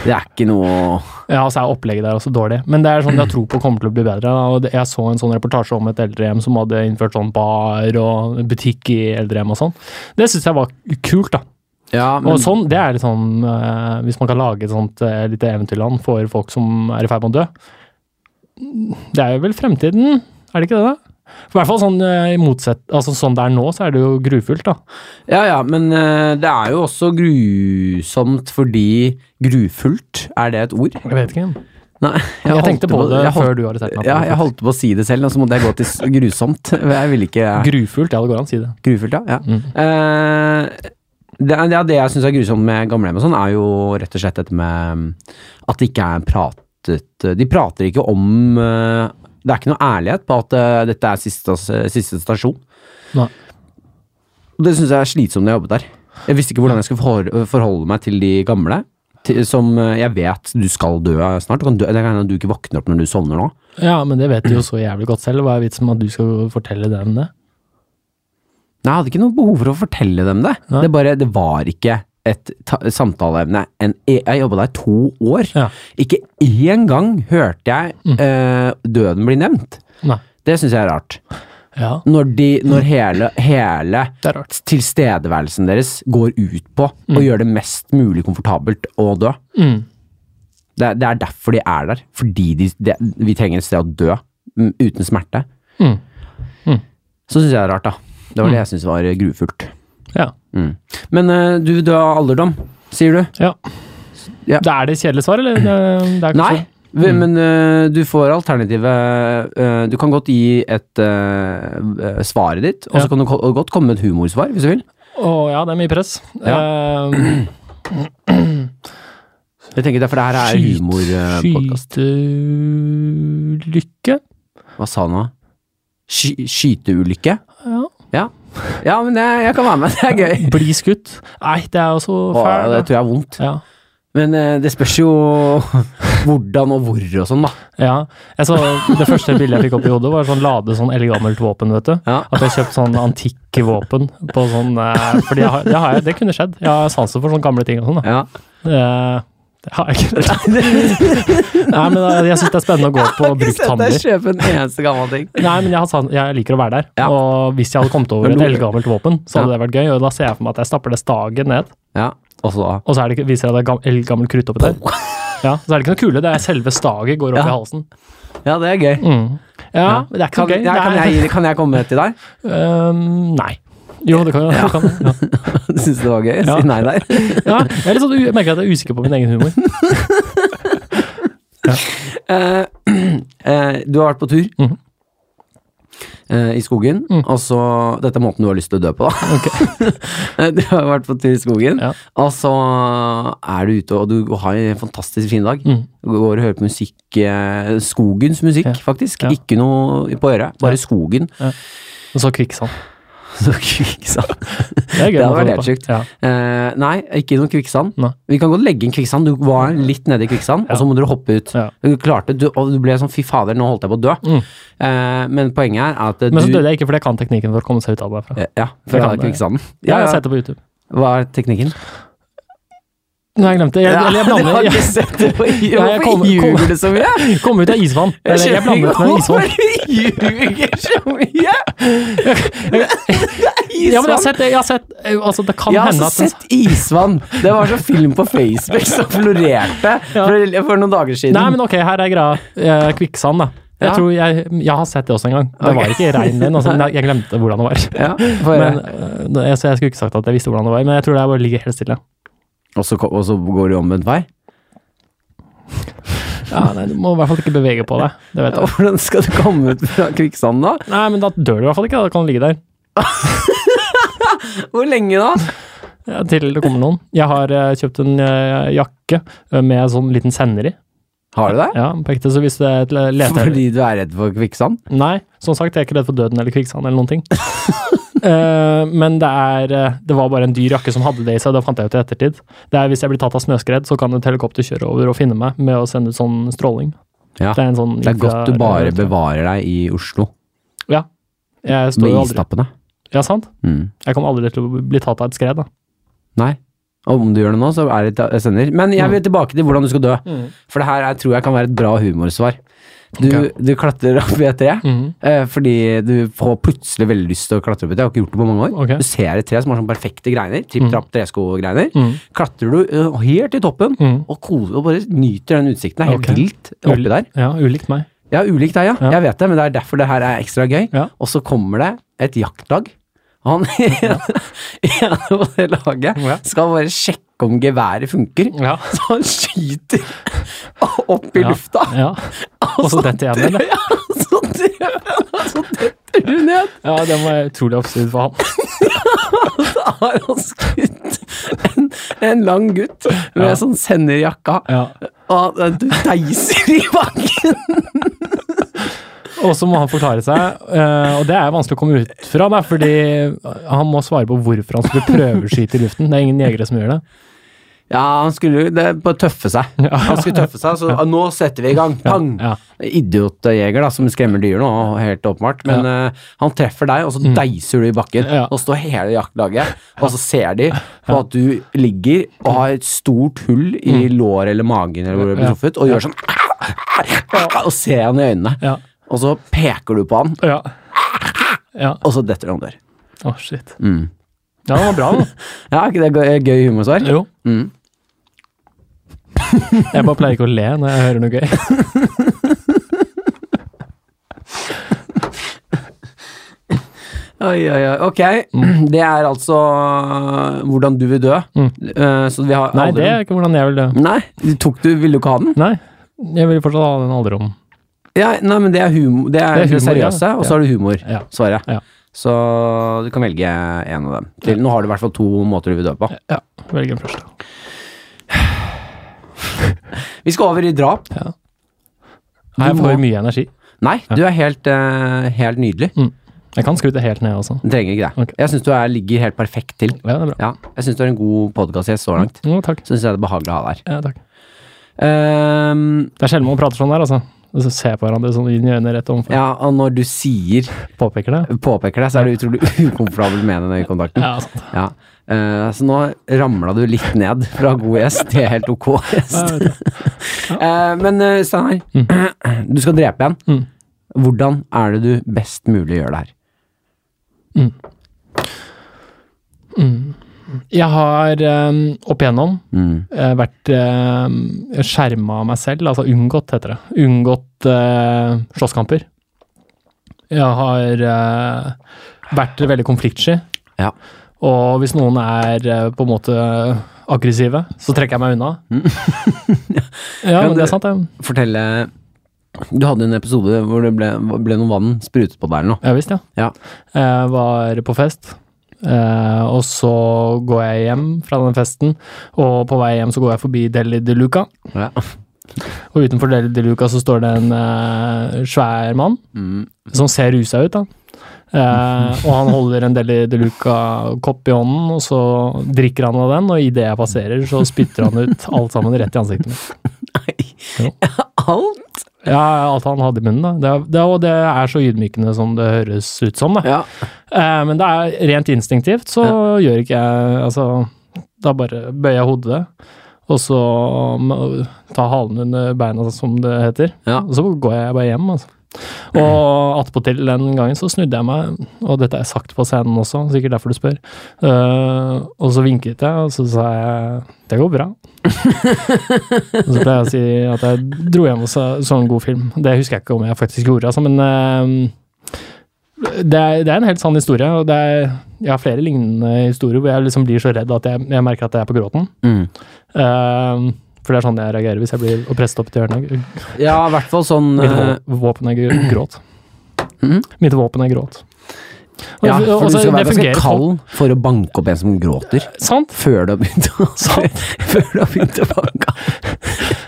[SPEAKER 1] Det er ikke noe
[SPEAKER 2] Ja, altså er opplegget der også dårlig. Men det er sånn jeg tror på kommer til å bli bedre. da. Og det- jeg så en sånn reportasje om et eldrehjem som hadde innført sånn bar og butikk i eldrehjem og sånn. Det syns jeg var kult, da.
[SPEAKER 1] Ja,
[SPEAKER 2] Og sånn, det er litt sånn eh, Hvis man kan lage et sånt eh, lite eventyrland for folk som er i ferd med å dø Det er jo vel fremtiden, er det ikke det, da? For I hvert fall sånn eh, i motsett Altså sånn det er nå, så er det jo grufullt, da.
[SPEAKER 1] Ja, ja, men eh, det er jo også grusomt fordi Grufullt, er det et ord?
[SPEAKER 2] Jeg vet ikke.
[SPEAKER 1] Nei,
[SPEAKER 2] Jeg,
[SPEAKER 1] holdt
[SPEAKER 2] tenkte på det
[SPEAKER 1] jeg holdt-
[SPEAKER 2] før du arresterte meg.
[SPEAKER 1] Ja, jeg holdt på å si det selv, og så måtte jeg gå til s- grusomt. Jeg ville ikke
[SPEAKER 2] Grufullt, ja, det går an å si det.
[SPEAKER 1] Grufullt, ja. ja.
[SPEAKER 2] Mm.
[SPEAKER 1] Eh, det, er- ja, det jeg syns er grusomt med gamlehjem og sånn, er jo rett og slett dette med mm, at det ikke er pratet eh, De prater ikke om eh, Det er ikke noe ærlighet på at eh, dette er siste, siste stasjon.
[SPEAKER 2] Nei.
[SPEAKER 1] Og Det syns jeg er slitsomt når jeg jobbet der. Jeg visste ikke hvordan jeg skulle forhold, forholde meg til de gamle. Til, som eh, jeg vet du skal dø snart. Du kan dø, det kan hende du ikke våkner opp når du sovner nå.
[SPEAKER 2] Ja, men det vet du jo så jævlig godt selv. Hva er vitsen med at du skal fortelle dem det?
[SPEAKER 1] Nei, jeg hadde ikke noe behov for å fortelle dem det.
[SPEAKER 2] Nei.
[SPEAKER 1] Det bare, det var ikke et ta samtaleevne. En, e- jeg jobba der to år.
[SPEAKER 2] Ja. Mm.
[SPEAKER 1] Ikke én gang hørte jeg eh, døden bli nevnt.
[SPEAKER 2] Nei.
[SPEAKER 1] Det syns jeg er rart.
[SPEAKER 2] Ja,
[SPEAKER 1] Når, de, når hele, hele
[SPEAKER 2] Mm. det er rart.
[SPEAKER 1] tilstedeværelsen deres går ut på å gjøre det mest mulig komfortabelt å dø.
[SPEAKER 2] Mm.
[SPEAKER 1] Det, er- det er derfor de er der. Fordi de, det- vi trenger et sted å dø mm, uten smerte.
[SPEAKER 2] Mm.
[SPEAKER 1] Så syns jeg det er rart, da. Det var det jeg syns var grufullt.
[SPEAKER 2] Ja.
[SPEAKER 1] Men eh, du vil dø av alderdom, sier du?
[SPEAKER 2] ja.
[SPEAKER 1] Ja.
[SPEAKER 2] Det er det kjedelige svar, eller? Det, det er ikke
[SPEAKER 1] Nei,
[SPEAKER 2] så-
[SPEAKER 1] v- men eh, du får alternativet eh, Du kan godt gi et eh, eh, svaret ditt, og
[SPEAKER 2] Ja.
[SPEAKER 1] så kan du ko- godt komme med et humorsvar, hvis du vil.
[SPEAKER 2] Å ja, det er mye press. Eh,
[SPEAKER 1] Jeg tenker derfor det her er eh,
[SPEAKER 2] Skyt-
[SPEAKER 1] humorpodkast.
[SPEAKER 2] Skyteulykke?
[SPEAKER 1] Hva sa han nå? Sky, skyteulykke?
[SPEAKER 2] Ja.
[SPEAKER 1] Ja. ja, men jeg, jeg kan være med. Det er gøy.
[SPEAKER 2] Bli skutt? Nei, det er jo så
[SPEAKER 1] Å, det
[SPEAKER 2] fælt.
[SPEAKER 1] tror jeg er vondt.
[SPEAKER 2] Ja.
[SPEAKER 1] Men eh, det spørs jo hvordan og hvor og sånn, da.
[SPEAKER 2] Ja, jeg så Det første bildet jeg fikk opp i hodet, var sånn lade sånn eldgammelt våpen. vet du.
[SPEAKER 1] Ja.
[SPEAKER 2] At jeg har kjøpt sånn antikke våpen. på sånn, eh, fordi jeg har, det, har jeg, det kunne skjedd. Jeg har sansen for sånne gamle ting. og sånn. da.
[SPEAKER 1] Ja.
[SPEAKER 2] Eh, det har jeg ikke. Nei, men eh, Jeg syns det er spennende å gå på
[SPEAKER 1] deg
[SPEAKER 2] brukthandler.
[SPEAKER 1] kjøpe en eneste gammel ting.
[SPEAKER 2] Nei, men jeg, har sans- jeg liker å være der.
[SPEAKER 1] Ja.
[SPEAKER 2] Og hvis jeg hadde kommet over
[SPEAKER 1] Men
[SPEAKER 2] et
[SPEAKER 1] lo-
[SPEAKER 2] eldgammelt våpen, så hadde det vært gøy. og Da ser jeg for meg at jeg stapper det staget ned,
[SPEAKER 1] Ja, og så
[SPEAKER 2] og så er det, ikke- viser jeg at det er gam- eldgammelt krutt oppi der. Ja, så er det ikke noe kule, det er selve staget går opp i
[SPEAKER 1] Ja.
[SPEAKER 2] halsen.
[SPEAKER 1] Ja, det er gøy.
[SPEAKER 2] Mm. Ja,
[SPEAKER 1] Ja.
[SPEAKER 2] men det er ikke
[SPEAKER 1] Kan,
[SPEAKER 2] så gøy.
[SPEAKER 1] ja,
[SPEAKER 2] Det
[SPEAKER 1] kan,
[SPEAKER 2] er-
[SPEAKER 1] jeg, kan jeg komme til deg?
[SPEAKER 2] Øhm, nei. Jo, det kan jo ja. Ja.
[SPEAKER 1] Syns du det var gøy?
[SPEAKER 2] Ja.
[SPEAKER 1] Si nei der.
[SPEAKER 2] Ja, jeg, er litt sånn, u- jeg merker at jeg er usikker på min egen humor.
[SPEAKER 1] Eh, eh, du har vært på tur
[SPEAKER 2] Mhm. Mm.
[SPEAKER 1] eh, i skogen, og så Dette er måten du har lyst til å dø på, da. Eh, du har vært på tur i skogen,
[SPEAKER 2] Ja.
[SPEAKER 1] og så er du ute, og du har en fantastisk fin dag.
[SPEAKER 2] Mm.
[SPEAKER 1] Du Går og hører på musikk, eh, skogens musikk,
[SPEAKER 2] Ja.
[SPEAKER 1] faktisk.
[SPEAKER 2] Ja.
[SPEAKER 1] Ikke noe på øret, bare
[SPEAKER 2] Ja.
[SPEAKER 1] skogen.
[SPEAKER 2] Og så kvikksand.
[SPEAKER 1] Så kvikksand.
[SPEAKER 2] Det er gøy.
[SPEAKER 1] Det hadde
[SPEAKER 2] å
[SPEAKER 1] vært
[SPEAKER 2] få det
[SPEAKER 1] helt
[SPEAKER 2] på.
[SPEAKER 1] sjukt.
[SPEAKER 2] Ja.
[SPEAKER 1] Eh, nei, ikke noe kvikksand.
[SPEAKER 2] Nei.
[SPEAKER 1] Vi kan godt legge inn kvikksand. Du var litt nede i kvikksand, og så må dere hoppe ut.
[SPEAKER 2] Ja.
[SPEAKER 1] Du klarte, du, og du ble sånn fy fader, nå holdt jeg på å dø.
[SPEAKER 2] Mm.
[SPEAKER 1] Eh, men poenget er at
[SPEAKER 2] Men så
[SPEAKER 1] du
[SPEAKER 2] døde jeg ikke fordi jeg kan teknikken for å komme seg ut av det derfra.
[SPEAKER 1] Eh, Ja,
[SPEAKER 2] Jeg
[SPEAKER 1] fra
[SPEAKER 2] kan det.
[SPEAKER 1] kvikksanden.
[SPEAKER 2] Ja,
[SPEAKER 1] Ja,
[SPEAKER 2] jeg har
[SPEAKER 1] ja.
[SPEAKER 2] sett det på YouTube.
[SPEAKER 1] Hva er teknikken?
[SPEAKER 2] Nei, jeg glemte det. Jeg, eller jeg
[SPEAKER 1] du
[SPEAKER 2] blander
[SPEAKER 1] har
[SPEAKER 2] jeg,
[SPEAKER 1] ikke sett det på YouTube?
[SPEAKER 2] Nei, jeg kom-
[SPEAKER 1] Hvorfor ljuger
[SPEAKER 2] kom-
[SPEAKER 1] du så mye?
[SPEAKER 2] Kom ut av isvann. Eller jeg blander det med isvann.
[SPEAKER 1] Hvorfor ljuger du så mye?
[SPEAKER 2] Ja, men jeg har sett det. Jeg har sett, eh, altså, det kan
[SPEAKER 1] Jeg har
[SPEAKER 2] hende
[SPEAKER 1] altså
[SPEAKER 2] at den,
[SPEAKER 1] sett Isvann! Det var så film på Facebook som florerte for, for noen dager siden.
[SPEAKER 2] Nei, men ok, her er greia. Eh, Kvikksand, da. Jeg
[SPEAKER 1] Ja.
[SPEAKER 2] tror jeg, jeg har sett det også en gang. Det var ikke rein den, altså, men jeg- jeg glemte hvordan det var.
[SPEAKER 1] ja, for,
[SPEAKER 2] Men, eh, jeg, så jeg skulle ikke sagt at jeg visste hvordan det var, men jeg tror det bare ligger helt stille.
[SPEAKER 1] og, så, ko- og så går du omvendt vei?
[SPEAKER 2] Ja, nei, du må i hvert fall ikke bevege på deg. Det vet jeg.
[SPEAKER 1] Hvordan skal du komme ut fra kvikksanden da?
[SPEAKER 2] Nei, men da dør du i hvert fall ikke. Da Da kan du ligge der
[SPEAKER 1] Hvor lenge da?
[SPEAKER 2] ja, til det kommer noen. Jeg har eh, kjøpt en eh, jakke eh, med sånn liten sender i.
[SPEAKER 1] Har du det?
[SPEAKER 2] Ja, på ekte, så hvis det er et le- leter...
[SPEAKER 1] Fordi du er redd for kvikksand?
[SPEAKER 2] Nei, som sagt, jeg er ikke redd for døden eller kvikksand eller noen ting. Eh, men det er eh, Det var bare en dyr jakke som hadde det i seg, det fant jeg ut i ettertid. Det er Hvis jeg blir tatt av snøskred, så kan et helikopter kjøre over og finne meg med å sende ut sånn stråling.
[SPEAKER 1] Ja.
[SPEAKER 2] Det er, en sånn
[SPEAKER 1] Det er godt du bare
[SPEAKER 2] infra-
[SPEAKER 1] bevarer deg i Oslo,
[SPEAKER 2] Ja. Jeg står
[SPEAKER 1] med
[SPEAKER 2] jo aldri
[SPEAKER 1] istappene.
[SPEAKER 2] Ja, sant?
[SPEAKER 1] Mm.
[SPEAKER 2] Jeg kommer aldri til å bli tatt av et skred, da.
[SPEAKER 1] Nei. Og om du gjør det nå, så er det ta- sender. Men jeg
[SPEAKER 2] Mm.
[SPEAKER 1] vil tilbake til hvordan du skal dø. For det her er, tror jeg kan være et bra humorsvar. Du,
[SPEAKER 2] Ok.
[SPEAKER 1] du klatrer opp i et tre.
[SPEAKER 2] Mhm.
[SPEAKER 1] eh, Fordi du får plutselig veldig lyst til å klatre opp i et tre. Jeg har ikke gjort det på mange år.
[SPEAKER 2] Ok.
[SPEAKER 1] Du ser et tre som har sånn perfekte greiner. Tripp,
[SPEAKER 2] Mm.
[SPEAKER 1] trapp, tresko-greiner.
[SPEAKER 2] Mm.
[SPEAKER 1] Klatrer du eh, helt til toppen
[SPEAKER 2] Mm.
[SPEAKER 1] og, ko- og bare nyter den utsikten. Det er helt
[SPEAKER 2] Ok.
[SPEAKER 1] vilt oppi der.
[SPEAKER 2] Ja, ulikt meg.
[SPEAKER 1] Ja, ulik deg, ja.
[SPEAKER 2] Ja.
[SPEAKER 1] Jeg vet det, men det er derfor det her er ekstra gøy.
[SPEAKER 2] Ja.
[SPEAKER 1] Og så kommer det et jaktlag. Han ene ene på det laget
[SPEAKER 2] Ja.
[SPEAKER 1] skal bare sjekke om geværet funker.
[SPEAKER 2] Ja.
[SPEAKER 1] Så han skyter opp i
[SPEAKER 2] Ja.
[SPEAKER 1] lufta,
[SPEAKER 2] ja. Og så detter jeg ned, eller?
[SPEAKER 1] og så dør han, og så detter du ned.
[SPEAKER 2] Ja, det var utrolig absurd for han.
[SPEAKER 1] Da har han skutt en, en lang gutt med
[SPEAKER 2] Ja.
[SPEAKER 1] sånn senderjakka,
[SPEAKER 2] Ja.
[SPEAKER 1] og han deiser i bakken.
[SPEAKER 2] Og så må han forklare seg, eh, og det er vanskelig å komme ut fra, da, fordi han må svare på hvorfor han skulle prøveskyte i luften. Det er ingen jegere som gjør det.
[SPEAKER 1] Ja, han skulle jo det er bare tøffe seg. Han skulle tøffe seg, så nå setter vi i gang. Pang!
[SPEAKER 2] Ja.
[SPEAKER 1] Idiotjeger da, som skremmer dyr nå, helt åpenbart. Men eh, han treffer deg, og så deiser du i bakken.
[SPEAKER 2] Mm. Ja.
[SPEAKER 1] Og står hele jaktlaget, og så ser de på at du ligger og har et stort hull i lår eller magen eller hvor du blir
[SPEAKER 2] Mm. Ja.
[SPEAKER 1] truffet, og gjør sånn Og ser han i øynene.
[SPEAKER 2] Ja.
[SPEAKER 1] Og så peker du på han,
[SPEAKER 2] Ja. Ja.
[SPEAKER 1] og så detter han dør.
[SPEAKER 2] Å, shit.
[SPEAKER 1] Mm.
[SPEAKER 2] Ja, det var bra, da.
[SPEAKER 1] Ja, er ikke det gøy, gøy humorsvar?
[SPEAKER 2] Jo.
[SPEAKER 1] Mm.
[SPEAKER 2] Jeg bare pleier ikke å le når jeg hører noe gøy.
[SPEAKER 1] Oi, oi, oi. Ok,
[SPEAKER 2] Mm.
[SPEAKER 1] det er altså hvordan du vil dø. Eh, så vi har
[SPEAKER 2] Nei, det
[SPEAKER 1] aldri-
[SPEAKER 2] er ikke hvordan jeg vil dø.
[SPEAKER 1] Nei, du tok du, ville du ikke ha den?
[SPEAKER 2] Nei, jeg vil fortsatt ha den alderen.
[SPEAKER 1] Ja, nei, men det er, humo, det er
[SPEAKER 2] Det
[SPEAKER 1] det
[SPEAKER 2] er humor,
[SPEAKER 1] seriøse,
[SPEAKER 2] ja.
[SPEAKER 1] og så har du humor,
[SPEAKER 2] Ja.
[SPEAKER 1] svaret.
[SPEAKER 2] Ja.
[SPEAKER 1] Så du kan velge en av dem. Til, nå har du i hvert fall to måter du vil dø på.
[SPEAKER 2] Ja, velg den første.
[SPEAKER 1] Vi skal over i drap.
[SPEAKER 2] Nei, jeg
[SPEAKER 1] Du
[SPEAKER 2] får
[SPEAKER 1] må-
[SPEAKER 2] mye energi.
[SPEAKER 1] Nei, du er helt, eh, helt nydelig.
[SPEAKER 2] Jeg kan skru det helt ned også.
[SPEAKER 1] Du trenger ikke det.
[SPEAKER 2] Ok.
[SPEAKER 1] Jeg syns du er, ligger helt perfekt til.
[SPEAKER 2] Ja, det er bra.
[SPEAKER 1] Ja, jeg syns du er en god podkastgjest så langt.
[SPEAKER 2] Jo, takk.
[SPEAKER 1] Syns jeg det er behagelig å ha deg her.
[SPEAKER 2] Ja, takk.
[SPEAKER 1] Ehm,
[SPEAKER 2] Det er sjelden man prater sånn der, altså. Og så ser på hverandre sånn inn i øynene rett overfor.
[SPEAKER 1] ja, og når du sier
[SPEAKER 2] Påpeker det.
[SPEAKER 1] påpeker det, så er du utrolig ukomfortabel med den øyekontakten.
[SPEAKER 2] Ja, sant.
[SPEAKER 1] Ja. Eh, så nå ramla du litt ned fra god gjest til helt ok gjest.
[SPEAKER 2] Ja, jeg vet det.
[SPEAKER 1] Eh, men eh, Steinar, du skal drepe en.
[SPEAKER 2] Mm.
[SPEAKER 1] Hvordan er det du best mulig gjør det her?
[SPEAKER 2] Jeg har eh, opp igjennom eh, vært uh, skjerma av meg selv, altså unngått, heter det. Unngått eh, slåsskamper. Jeg har eh, vært veldig konfliktsky.
[SPEAKER 1] Ja.
[SPEAKER 2] Og hvis noen er eh, på en måte aggressive, så trekker jeg meg unna. ja, men det er sant, det.
[SPEAKER 1] Fortelle Du hadde en episode hvor det ble, ble noe vann sprutet på deg eller noe.
[SPEAKER 2] Ja visst, ja.
[SPEAKER 1] Ja.
[SPEAKER 2] Jeg var på fest, eh, og så går jeg hjem fra den festen. Og på vei hjem så går jeg forbi Deli de Luca,
[SPEAKER 1] Ja.
[SPEAKER 2] og utenfor Deli de Luca så står det en eh, svær mann
[SPEAKER 1] Mm.
[SPEAKER 2] som ser rusa ut, da. Eh, og han holder en Deli de Luca-kopp i hånden, og så drikker han av den, og idet jeg passerer, så spytter han ut alt sammen rett i ansiktet mitt.
[SPEAKER 1] Alt?
[SPEAKER 2] Ja, alt han hadde i munnen, da. Det, er- det, er- og det er så ydmykende som det høres ut som, da.
[SPEAKER 1] Ja.
[SPEAKER 2] Eh, men det er rent instinktivt, så gjør ikke jeg Altså, da bare bøyer jeg hodet, og så m- tar halen under beina, som det heter.
[SPEAKER 1] Ja.
[SPEAKER 2] Og så går jeg bare hjem, altså. Og attpåtil den gangen så snudde jeg meg, og dette har jeg sagt på scenen også, sikkert derfor du spør, Eh, og så vinket jeg, og så sa jeg 'det går bra'. og så pleier jeg å si at jeg dro hjem og så, så en god film. Det husker jeg ikke om jeg faktisk gjorde, altså, men eh, det er, det er en helt sann historie, og det er, jeg har flere lignende historier hvor jeg liksom blir så redd at jeg, jeg merker at jeg er på gråten.
[SPEAKER 1] Mm.
[SPEAKER 2] Eh, For det er sånn jeg reagerer hvis jeg blir og presset opp til hjørnet.
[SPEAKER 1] Ja, i hvert fall sånn
[SPEAKER 2] Mitt
[SPEAKER 1] eh,
[SPEAKER 2] vå- våpen er gr- gråt.
[SPEAKER 1] Mhm.
[SPEAKER 2] Mitt våpen er gråt. Og
[SPEAKER 1] Ja,
[SPEAKER 2] det- og
[SPEAKER 1] for du
[SPEAKER 2] altså,
[SPEAKER 1] skal
[SPEAKER 2] det
[SPEAKER 1] være ganske
[SPEAKER 2] fungerer på-
[SPEAKER 1] kald for å banke opp en som gråter.
[SPEAKER 2] Sant?
[SPEAKER 1] Før du har begynt å
[SPEAKER 2] Sant?
[SPEAKER 1] Før du har begynt å banke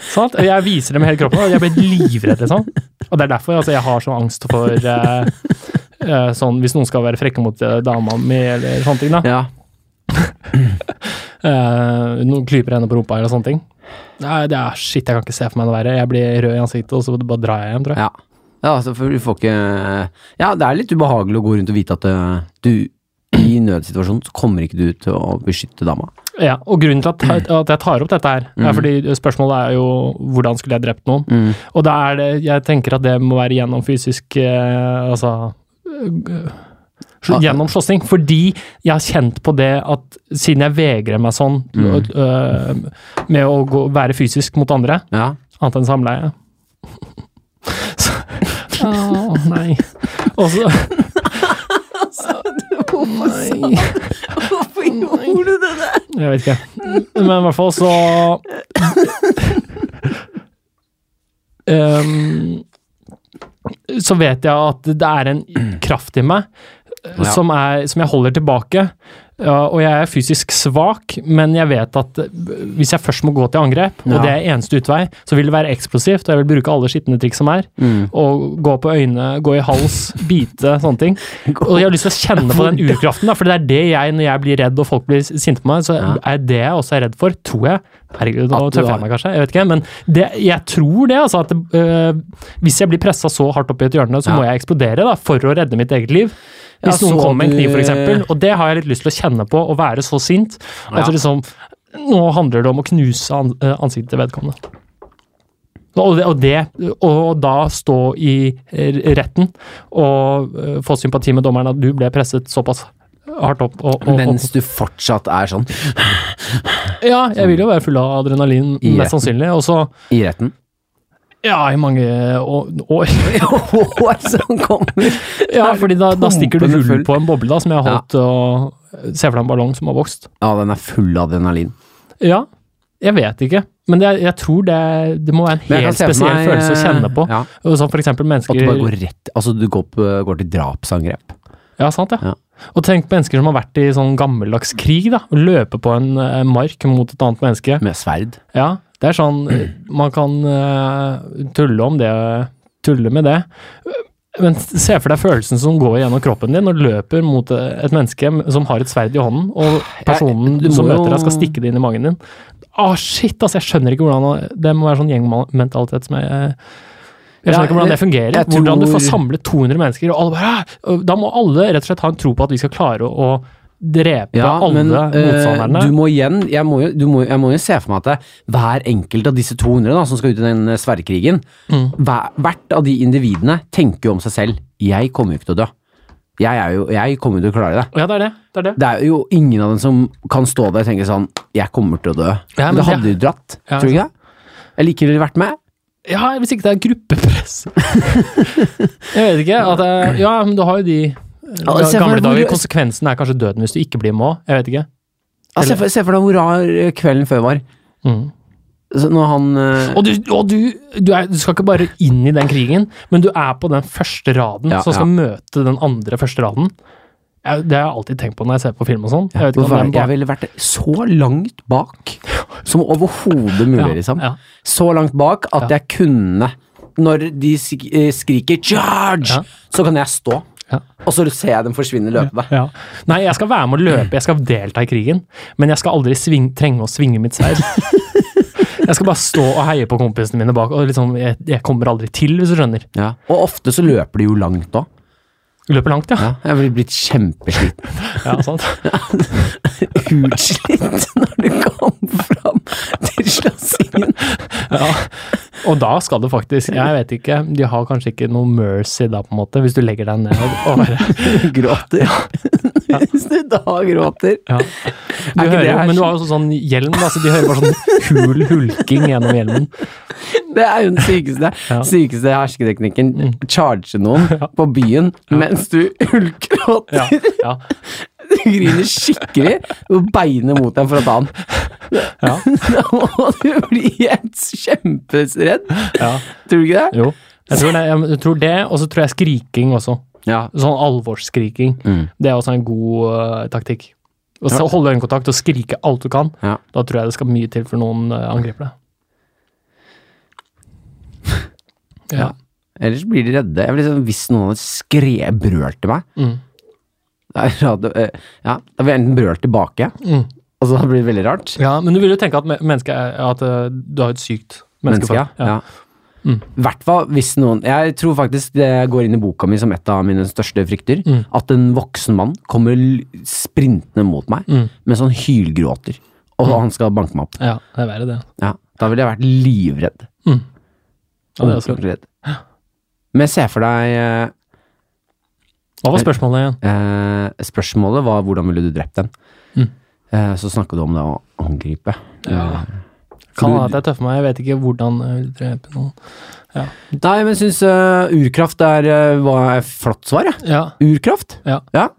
[SPEAKER 2] sant? Jeg viser dem hele kroppen, og jeg blir livredd, liksom. Og det er derfor altså, jeg har sånn angst for eh, eh, sånn, Hvis noen skal være frekke mot eh, dama mi, eller sånne ting, da.
[SPEAKER 1] Ja.
[SPEAKER 2] Eh, noen klyper henne på rumpa eller sånne ting. Nei, det er shit, jeg kan ikke se for meg noe verre. Jeg blir rød i ansiktet, og så bare drar jeg hjem, tror jeg.
[SPEAKER 1] Ja. ja, altså, for du får ikke Ja, det er litt ubehagelig å gå rundt og vite at eh, du i nødsituasjonen så kommer ikke du til å beskytte dama.
[SPEAKER 2] Ja. og grunnen til at, at jeg tar opp dette her,
[SPEAKER 1] Mm.
[SPEAKER 2] er fordi spørsmålet er jo hvordan skulle jeg drept noen? Og da er det, jeg tenker at det må være gjennom fysisk eh, Altså eh, sl- Gjennom slåssing. Fordi jeg har kjent på det at siden jeg vegrer meg sånn til å- eh, med å gå, være fysisk mot andre,
[SPEAKER 1] Ja.
[SPEAKER 2] Annet enn samleie. Så Å, nei. Og så
[SPEAKER 1] Altså,
[SPEAKER 2] Nei,
[SPEAKER 1] Hvorfor gjorde du det der?
[SPEAKER 2] jeg vet ikke. Men i hvert fall så Ehm, Så vet jeg at det er en kraft i meg
[SPEAKER 1] Ja.
[SPEAKER 2] som, er, som jeg holder tilbake. Ja, og jeg er fysisk svak, men jeg vet at eh, hvis jeg først må gå til angrep, og
[SPEAKER 1] Ja.
[SPEAKER 2] det er eneste utvei, så vil det være eksplosivt, og jeg vil bruke alle skitne triks som er. Og gå på øynene, gå i hals, bite, sånne ting. Og jeg har lyst til å kjenne på den urkraften, da, for det er det jeg, når jeg blir redd og folk blir sinte på meg, så
[SPEAKER 1] Ja.
[SPEAKER 2] er det jeg også er redd for, tror jeg. Herregud, nå
[SPEAKER 1] At du
[SPEAKER 2] tøffer
[SPEAKER 1] har-
[SPEAKER 2] jeg meg kanskje, jeg vet ikke, men det, jeg tror det, altså, at det, øh, hvis jeg blir pressa så hardt opp i et hjørne, så
[SPEAKER 1] Ja.
[SPEAKER 2] må jeg eksplodere, da, for å redde mitt eget liv.
[SPEAKER 1] Ja,
[SPEAKER 2] Hvis noen
[SPEAKER 1] så
[SPEAKER 2] kommer med en kniv,
[SPEAKER 1] du-
[SPEAKER 2] for eksempel, og det har jeg litt lyst til å kjenne på, å være så sint, at
[SPEAKER 1] Ja.
[SPEAKER 2] det liksom, nå handler det om å knuse an- øh, ansiktet til vedkommende. Og det, og det, og da stå i eh, retten og eh, få sympati med dommeren at du ble presset såpass hardt opp. Og, og,
[SPEAKER 1] Mens du fortsatt er sånn
[SPEAKER 2] og, ja, jeg vil jo være full av adrenalin,
[SPEAKER 1] I
[SPEAKER 2] mest
[SPEAKER 1] retten.
[SPEAKER 2] sannsynlig. Og så
[SPEAKER 1] i retten.
[SPEAKER 2] Ja, i mange å- år.
[SPEAKER 1] Hår som kommer!
[SPEAKER 2] Ja, fordi da, da stikker du
[SPEAKER 1] Pumpende
[SPEAKER 2] hull
[SPEAKER 1] full.
[SPEAKER 2] på en boble da, som jeg har holdt og Se for deg en ballong som har vokst.
[SPEAKER 1] Ja, den er full av adrenalin.
[SPEAKER 2] Ja, jeg vet ikke. Men det, er- jeg tror det, det må være en
[SPEAKER 1] Men jeg
[SPEAKER 2] helt
[SPEAKER 1] kan se for
[SPEAKER 2] spesiell
[SPEAKER 1] meg, eh,
[SPEAKER 2] følelse å kjenne på.
[SPEAKER 1] Ja,
[SPEAKER 2] Og Sånn for eksempel
[SPEAKER 1] at
[SPEAKER 2] mennesker
[SPEAKER 1] du bare går rett Altså, du går, på, går til drapsangrep.
[SPEAKER 2] Ja, sant, ja.
[SPEAKER 1] Ja.
[SPEAKER 2] Og tenk på mennesker som har vært i sånn gammeldags krig, da. Og løpe på en eh, mark mot et annet menneske.
[SPEAKER 1] Med sverd.
[SPEAKER 2] Ja, det er sånn eh, Man kan eh, tulle om det, tulle med det. Men se for deg følelsen som går gjennom kroppen din når du løper mot eh, et menneske som har et sverd i hånden, og personen
[SPEAKER 1] Jeg- du må
[SPEAKER 2] som møter
[SPEAKER 1] jo-
[SPEAKER 2] deg, skal stikke det inn i magen din. Å, shit, altså, jeg skjønner ikke hvordan Det må være sånn gjengmentalitet som jeg
[SPEAKER 1] Ja,
[SPEAKER 2] jeg skjønner ikke hvordan det
[SPEAKER 1] jeg-
[SPEAKER 2] fungerer.
[SPEAKER 1] jeg
[SPEAKER 2] Hvordan du
[SPEAKER 1] tror-
[SPEAKER 2] får samlet 200 mennesker, og alle bare «Hæ?» Og Da må alle rett og slett ha en tro på at vi skal klare å, å drepe alle
[SPEAKER 1] eh,
[SPEAKER 2] motstanderne.
[SPEAKER 1] Du må igjen, jeg må, jo, du må, jeg må jo se for meg at det, hver enkelt av disse 200 da, som skal ut i den eh, sverdkrigen,
[SPEAKER 2] Mm.
[SPEAKER 1] hver, hvert av de individene tenker jo om seg selv. Jeg kommer jo ikke til å dø. Jeg, er jo, jeg kommer jo til å klare det.
[SPEAKER 2] Ja, det er det. det, er det.
[SPEAKER 1] Det er jo ingen av dem som kan stå der og tenke sånn Jeg kommer til å dø.
[SPEAKER 2] Ja, men
[SPEAKER 1] det
[SPEAKER 2] det-
[SPEAKER 1] hadde jo dratt,
[SPEAKER 2] Ja,
[SPEAKER 1] tror du ikke det? Jeg likevel vært med.
[SPEAKER 2] Ja, hvis ikke det er gruppepress. jeg vet ikke. At, eh, ja, men du har jo de eh,
[SPEAKER 1] Ja, se for
[SPEAKER 2] gamle
[SPEAKER 1] deg hvor
[SPEAKER 2] dager.
[SPEAKER 1] du-
[SPEAKER 2] Konsekvensen er kanskje døden hvis du ikke blir med òg. Jeg vet ikke.
[SPEAKER 1] Ja, se, for, se for deg hvor rar eh, kvelden før var.
[SPEAKER 2] Mm.
[SPEAKER 1] Så når han eh,
[SPEAKER 2] Og, du, og du, du, er, du skal ikke bare inn i den krigen, men du er på den første raden
[SPEAKER 1] Ja,
[SPEAKER 2] som skal
[SPEAKER 1] ja.
[SPEAKER 2] møte den andre første raden. Jeg, det har jeg alltid tenkt på når jeg ser på film og sånn. Jeg vet ikke
[SPEAKER 1] Hvorfor
[SPEAKER 2] om
[SPEAKER 1] er
[SPEAKER 2] den
[SPEAKER 1] det- jeg
[SPEAKER 2] bare-
[SPEAKER 1] ville vært så langt bak som overhodet mulig, liksom.
[SPEAKER 2] ja.
[SPEAKER 1] Så langt bak at jeg kunne Når de sk- eh, skriker 'charge',
[SPEAKER 2] Ja.
[SPEAKER 1] så kan jeg stå.
[SPEAKER 2] Ja.
[SPEAKER 1] Og så ser jeg dem forsvinne løpende.
[SPEAKER 2] Ja. Nei, jeg skal være med å løpe, jeg skal delta i krigen, men jeg skal aldri sving, trenge å svinge mitt sverd. Jeg skal bare stå og heie på kompisene mine bak, og liksom, jeg, jeg kommer aldri til, hvis du skjønner.
[SPEAKER 1] Ja. Og ofte så løper de jo langt òg.
[SPEAKER 2] Løper langt, ja.
[SPEAKER 1] Ja. Jeg blir blitt kjempesliten.
[SPEAKER 2] ja sant.
[SPEAKER 1] Utsliten når du kom fram til slåssingen.
[SPEAKER 2] Ja. Og da skal du faktisk, jeg vet ikke, de har kanskje ikke noe mercy da, på en måte, hvis du legger deg ned og bare
[SPEAKER 1] Gråter. Hvis du da gråter.
[SPEAKER 2] ja. du
[SPEAKER 1] ikke
[SPEAKER 2] hører,
[SPEAKER 1] det
[SPEAKER 2] jo-
[SPEAKER 1] her-
[SPEAKER 2] Men du har jo sånn sånn hjelm, da, så de hører bare sånn hul hulking gjennom hjelmen.
[SPEAKER 1] Det er jo den sykeste,
[SPEAKER 2] Ja. Mm.
[SPEAKER 1] sykeste hersketeknikken. Charge noen på byen mens du hulkgråter.
[SPEAKER 2] Ja, ja.
[SPEAKER 1] Du griner skikkelig og beiner mot deg for å ta den.
[SPEAKER 2] Ja.
[SPEAKER 1] Og du blir helt kjemperedd.
[SPEAKER 2] Ja.
[SPEAKER 1] Tror du ikke det?
[SPEAKER 2] Jo. Jeg tror det, jeg tror det og så tror jeg skriking også.
[SPEAKER 1] Ja.
[SPEAKER 2] Sånn alvorsskriking.
[SPEAKER 1] Mm.
[SPEAKER 2] Det er også en god eh, taktikk. Å se- holde øyekontakt og skrike alt du kan.
[SPEAKER 1] Ja.
[SPEAKER 2] Da tror jeg det skal mye til før noen eh, angriper deg. Ja.
[SPEAKER 1] Ellers blir de redde. Jeg blir sånn, hvis noen hadde skrevet brølt til meg
[SPEAKER 2] Mm.
[SPEAKER 1] det er rart, eh, ja, Da ville jeg enten brølt tilbake,
[SPEAKER 2] Mm.
[SPEAKER 1] og så hadde det blitt veldig rart.
[SPEAKER 2] ja, men du vil jo tenke at me- mennesket er at eh, du har et sykt
[SPEAKER 1] Mennesker,
[SPEAKER 2] menneske.
[SPEAKER 1] ja. ja.
[SPEAKER 2] Mm.
[SPEAKER 1] Hvert fall hvis noen Jeg tror faktisk det går inn i boka mi som et av mine største frykter.
[SPEAKER 2] Mm.
[SPEAKER 1] At en voksen mann kommer l- sprintende mot meg
[SPEAKER 2] Mm.
[SPEAKER 1] med sånn hylgråter, og han skal banke meg opp.
[SPEAKER 2] ja, det er verre, det.
[SPEAKER 1] Ja, da ville jeg vært livredd.
[SPEAKER 2] Mm. Ja, det er også.
[SPEAKER 1] Ordentlig redd. Men se for deg eh,
[SPEAKER 2] Hva var spørsmålet igjen?
[SPEAKER 1] eh, Spørsmålet var hvordan ville du drept den?
[SPEAKER 2] Mm.
[SPEAKER 1] Eh, så snakket du om det å angripe. Eh,
[SPEAKER 2] Kan
[SPEAKER 1] du-
[SPEAKER 2] være at jeg tøffer meg, jeg vet ikke hvordan eh, jeg vil drepe noen.
[SPEAKER 1] Nei, men jeg syns eh, urkraft er, eh, var et flott svar, jeg.
[SPEAKER 2] Ja,
[SPEAKER 1] Urkraft?
[SPEAKER 2] Ja.
[SPEAKER 1] ja.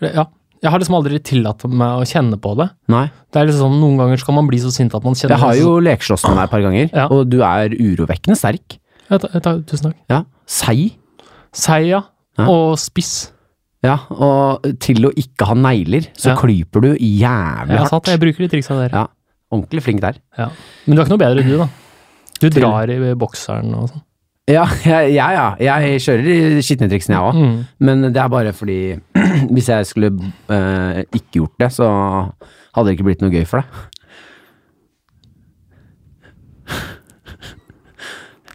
[SPEAKER 2] det- ja. Jeg har liksom aldri tillatt meg å kjenne på det.
[SPEAKER 1] Nei. altså-
[SPEAKER 2] Det er liksom sånn, Noen ganger så kan man bli så sint at man kjenner sånn.
[SPEAKER 1] Jeg har jo lekeslåss med deg et par ganger,
[SPEAKER 2] Ja.
[SPEAKER 1] og du er urovekkende sterk.
[SPEAKER 2] Ja, ta, ta, Tusen takk.
[SPEAKER 1] Ja. Seig.
[SPEAKER 2] Sei, ja.
[SPEAKER 1] Ja.
[SPEAKER 2] Og spiss.
[SPEAKER 1] Ja, og til å ikke ha negler, så
[SPEAKER 2] Ja.
[SPEAKER 1] klyper du jævlig
[SPEAKER 2] Jeg,
[SPEAKER 1] hardt.
[SPEAKER 2] satt, jeg bruker de triksa der.
[SPEAKER 1] Ja. Ordentlig flink der.
[SPEAKER 2] Ja. Men du er ikke noe bedre, du, da. Du
[SPEAKER 1] Til-
[SPEAKER 2] drar i bokseren og sånn.
[SPEAKER 1] Ja, jeg, ja, ja. Jeg kjører de skitne triksene, jeg òg.
[SPEAKER 2] Mm.
[SPEAKER 1] Men det er bare fordi hvis jeg skulle eh, ikke gjort det, så hadde det ikke blitt noe gøy for deg.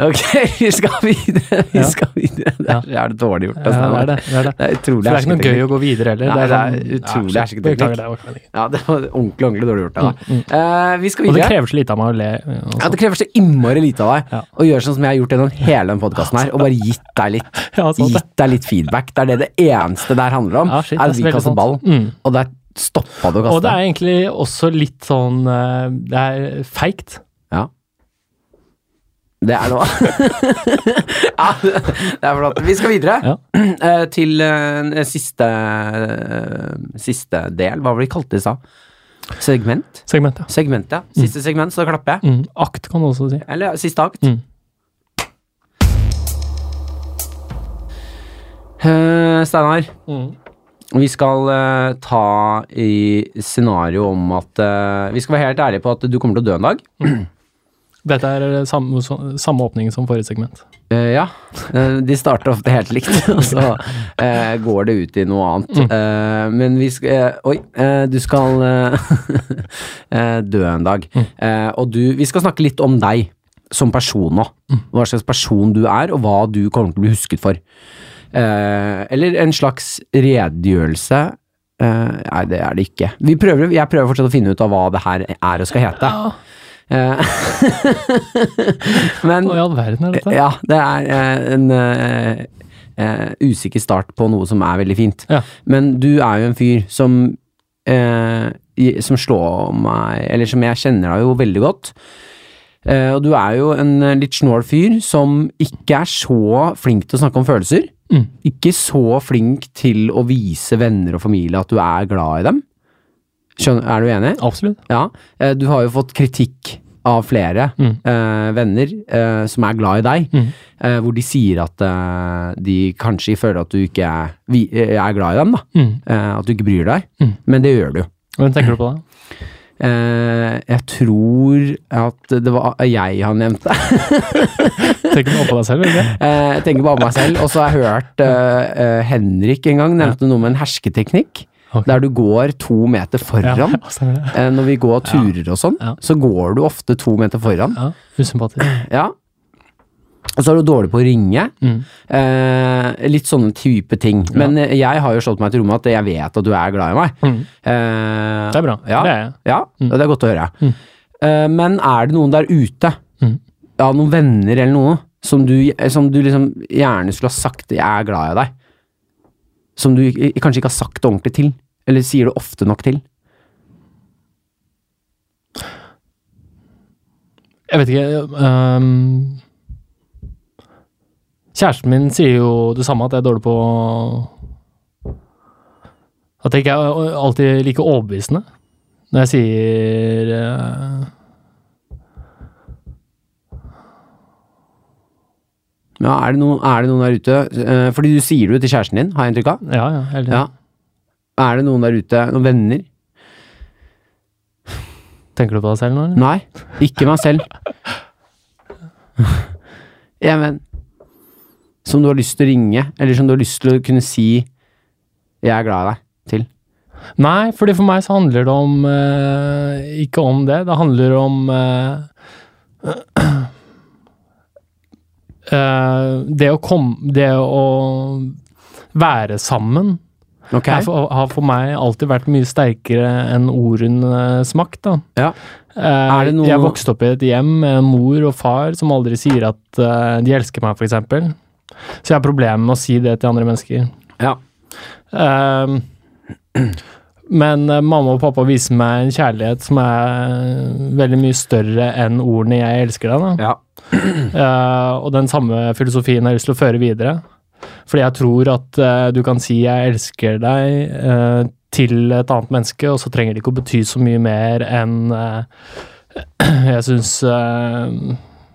[SPEAKER 1] Ok, vi skal videre. Vi
[SPEAKER 2] Ja.
[SPEAKER 1] skal videre. Det er, det er dårlig gjort.
[SPEAKER 2] Ja,
[SPEAKER 1] altså.
[SPEAKER 2] det er det. det, er det.
[SPEAKER 1] Det er
[SPEAKER 2] For
[SPEAKER 1] utrolig
[SPEAKER 2] det er ikke noe
[SPEAKER 1] hersketeknikk.
[SPEAKER 2] gøy å gå videre heller.
[SPEAKER 1] Nei,
[SPEAKER 2] sånn-
[SPEAKER 1] det er utrolig
[SPEAKER 2] Ja,
[SPEAKER 1] hersketeknikk.
[SPEAKER 2] Beklager, det var ikke meningen.
[SPEAKER 1] Ja, det var ordentlig, ordentlig dårlig gjort av deg. Eh, vi skal
[SPEAKER 2] Mm, Og det
[SPEAKER 1] videre.
[SPEAKER 2] krever så lite av meg å le. og
[SPEAKER 1] Ja,
[SPEAKER 2] sånn.
[SPEAKER 1] det krever så innmari lite av deg
[SPEAKER 2] Ja.
[SPEAKER 1] å gjøre sånn som jeg har gjort gjennom hele den podkasten her, og bare gitt deg litt.
[SPEAKER 2] Ja, sant det.
[SPEAKER 1] Gitt deg litt feedback. Det er det det eneste der handler om.
[SPEAKER 2] Ja, shit,
[SPEAKER 1] er at
[SPEAKER 2] det er
[SPEAKER 1] vi
[SPEAKER 2] veldig
[SPEAKER 1] kaster
[SPEAKER 2] sant.
[SPEAKER 1] altså ball,
[SPEAKER 2] Mm.
[SPEAKER 1] og der stoppa du å
[SPEAKER 2] Og det
[SPEAKER 1] kaste.
[SPEAKER 2] er egentlig også litt sånn eh, Det er feigt.
[SPEAKER 1] Ja. Det er noe ja, det det er flott. Vi skal videre
[SPEAKER 2] Ja.
[SPEAKER 1] eh, til eh, siste, eh, siste del. Hva var det vi kalte det i stad? Segment?
[SPEAKER 2] Segment, ja.
[SPEAKER 1] Segment, ja. Siste segment, så da klapper jeg.
[SPEAKER 2] Mm. Akt kan du også si.
[SPEAKER 1] Eller siste akt.
[SPEAKER 2] Mm.
[SPEAKER 1] Eh, Steinar,
[SPEAKER 2] Mm.
[SPEAKER 1] vi skal eh, ta i scenario om at eh, Vi skal være helt ærlige på at du kommer til å dø en dag.
[SPEAKER 2] Dette er eh, samme, så- samme åpning som forrige segment.
[SPEAKER 1] Eh, ja. Eh, de starter ofte helt likt, og så eh, går det ut i noe annet. Eh, men vi skal eh, Oi. eh, du skal eh, eh, dø en dag. Eh, og du Vi skal snakke litt om deg som person nå. Hva slags person du er, og hva du kommer til å bli husket for. Eh, eller en slags redegjørelse. Eh, nei, det er det ikke. Vi prøver, jeg prøver fortsatt å finne ut av hva det her er og skal hete. Eh, men
[SPEAKER 2] Hva i all verden er dette?
[SPEAKER 1] ja, det er eh, en eh, eh, usikker start på noe som er veldig fint.
[SPEAKER 2] Ja.
[SPEAKER 1] Men du er jo en fyr som eh, i- som slår meg Eller som jeg kjenner deg jo veldig godt. Eh, og du er jo en eh, litt snål fyr som ikke er så flink til å snakke om følelser.
[SPEAKER 2] Mm.
[SPEAKER 1] Ikke så flink til å vise venner og familie at du er glad i dem. Skjønner, er du enig?
[SPEAKER 2] Absolutt.
[SPEAKER 1] Ja, eh, du har jo fått kritikk av flere
[SPEAKER 2] Mm.
[SPEAKER 1] eh, venner eh, som er glad i deg,
[SPEAKER 2] Mm.
[SPEAKER 1] eh, hvor de sier at eh, de kanskje føler at du ikke er, vi, eh, er glad i dem, da.
[SPEAKER 2] Mm.
[SPEAKER 1] Eh, at du ikke bryr deg.
[SPEAKER 2] Mm.
[SPEAKER 1] Men det gjør du.
[SPEAKER 2] Hvem tenker du på da?
[SPEAKER 1] Eh, jeg tror at det var eh, jeg han nevnte.
[SPEAKER 2] Tenker du på deg selv, eller?
[SPEAKER 1] Eh, jeg tenker bare på meg selv. Og så har jeg hørt eh, eh, Henrik en gang nevnte noe med en hersketeknikk.
[SPEAKER 2] Ok.
[SPEAKER 1] Der du går to meter foran.
[SPEAKER 2] Ja, stemmer det.
[SPEAKER 1] Eh, når vi går turer og sånn,
[SPEAKER 2] Ja.
[SPEAKER 1] så går du ofte to meter foran.
[SPEAKER 2] Ja, Usympatisk.
[SPEAKER 1] Ja. Og så er du dårlig på å ringe.
[SPEAKER 2] Mm.
[SPEAKER 1] Eh, litt sånne type ting. Men eh, jeg har jo slått meg til rommet at jeg vet at du er glad i meg.
[SPEAKER 2] Mm.
[SPEAKER 1] Eh,
[SPEAKER 2] Det er bra.
[SPEAKER 1] Ja,
[SPEAKER 2] Det er Mm. jeg.
[SPEAKER 1] ja og det er godt å høre. Eh, men er det noen der ute,
[SPEAKER 2] Mm.
[SPEAKER 1] ja, noen venner eller noe, som du, som du liksom gjerne skulle ha sagt 'jeg er glad i deg', som du ikke- kanskje ikke har sagt det ordentlig til? Eller sier det ofte nok til?
[SPEAKER 2] Jeg vet ikke ehm, øhm, Kjæresten min sier jo det samme, at jeg er dårlig på Da tenker jeg å- alltid like overbevisende når jeg sier eh,
[SPEAKER 1] Ja, er, det noen, er det noen der ute eh, Fordi du sier det jo til kjæresten din, har jeg inntrykk av.
[SPEAKER 2] Ja, ja. Hele tiden.
[SPEAKER 1] Ja. Er det noen der ute, noen venner?
[SPEAKER 2] Tenker du på deg selv nå, eller?
[SPEAKER 1] Nei, ikke meg selv. Ja, men Som du har lyst til å ringe, eller som du har lyst til å kunne si 'jeg er glad i deg' til.
[SPEAKER 2] Nei, fordi for meg så handler det om eh, Ikke om det. Det handler om eh, eh, Det å komme Det å være sammen
[SPEAKER 1] Ok?
[SPEAKER 2] er for, har for meg alltid vært mye sterkere enn ordenes makt, da.
[SPEAKER 1] Ja.
[SPEAKER 2] Eh,
[SPEAKER 1] Er det noe-
[SPEAKER 2] Jeg vokste opp i et hjem med en mor og far som aldri sier at eh, de elsker meg, f.eks. Så jeg har problemer med å si det til andre mennesker.
[SPEAKER 1] ja.
[SPEAKER 2] Ehm, men eh, mamma og pappa viser meg en kjærlighet som er veldig mye større enn ordene 'jeg elsker deg'. Da.
[SPEAKER 1] ja.
[SPEAKER 2] Eh, og den samme filosofien har jeg lyst til å føre videre. Fordi jeg tror at eh, du kan si 'jeg elsker deg' eh, til et annet menneske, og så trenger det ikke å bety så mye mer enn eh, Jeg syns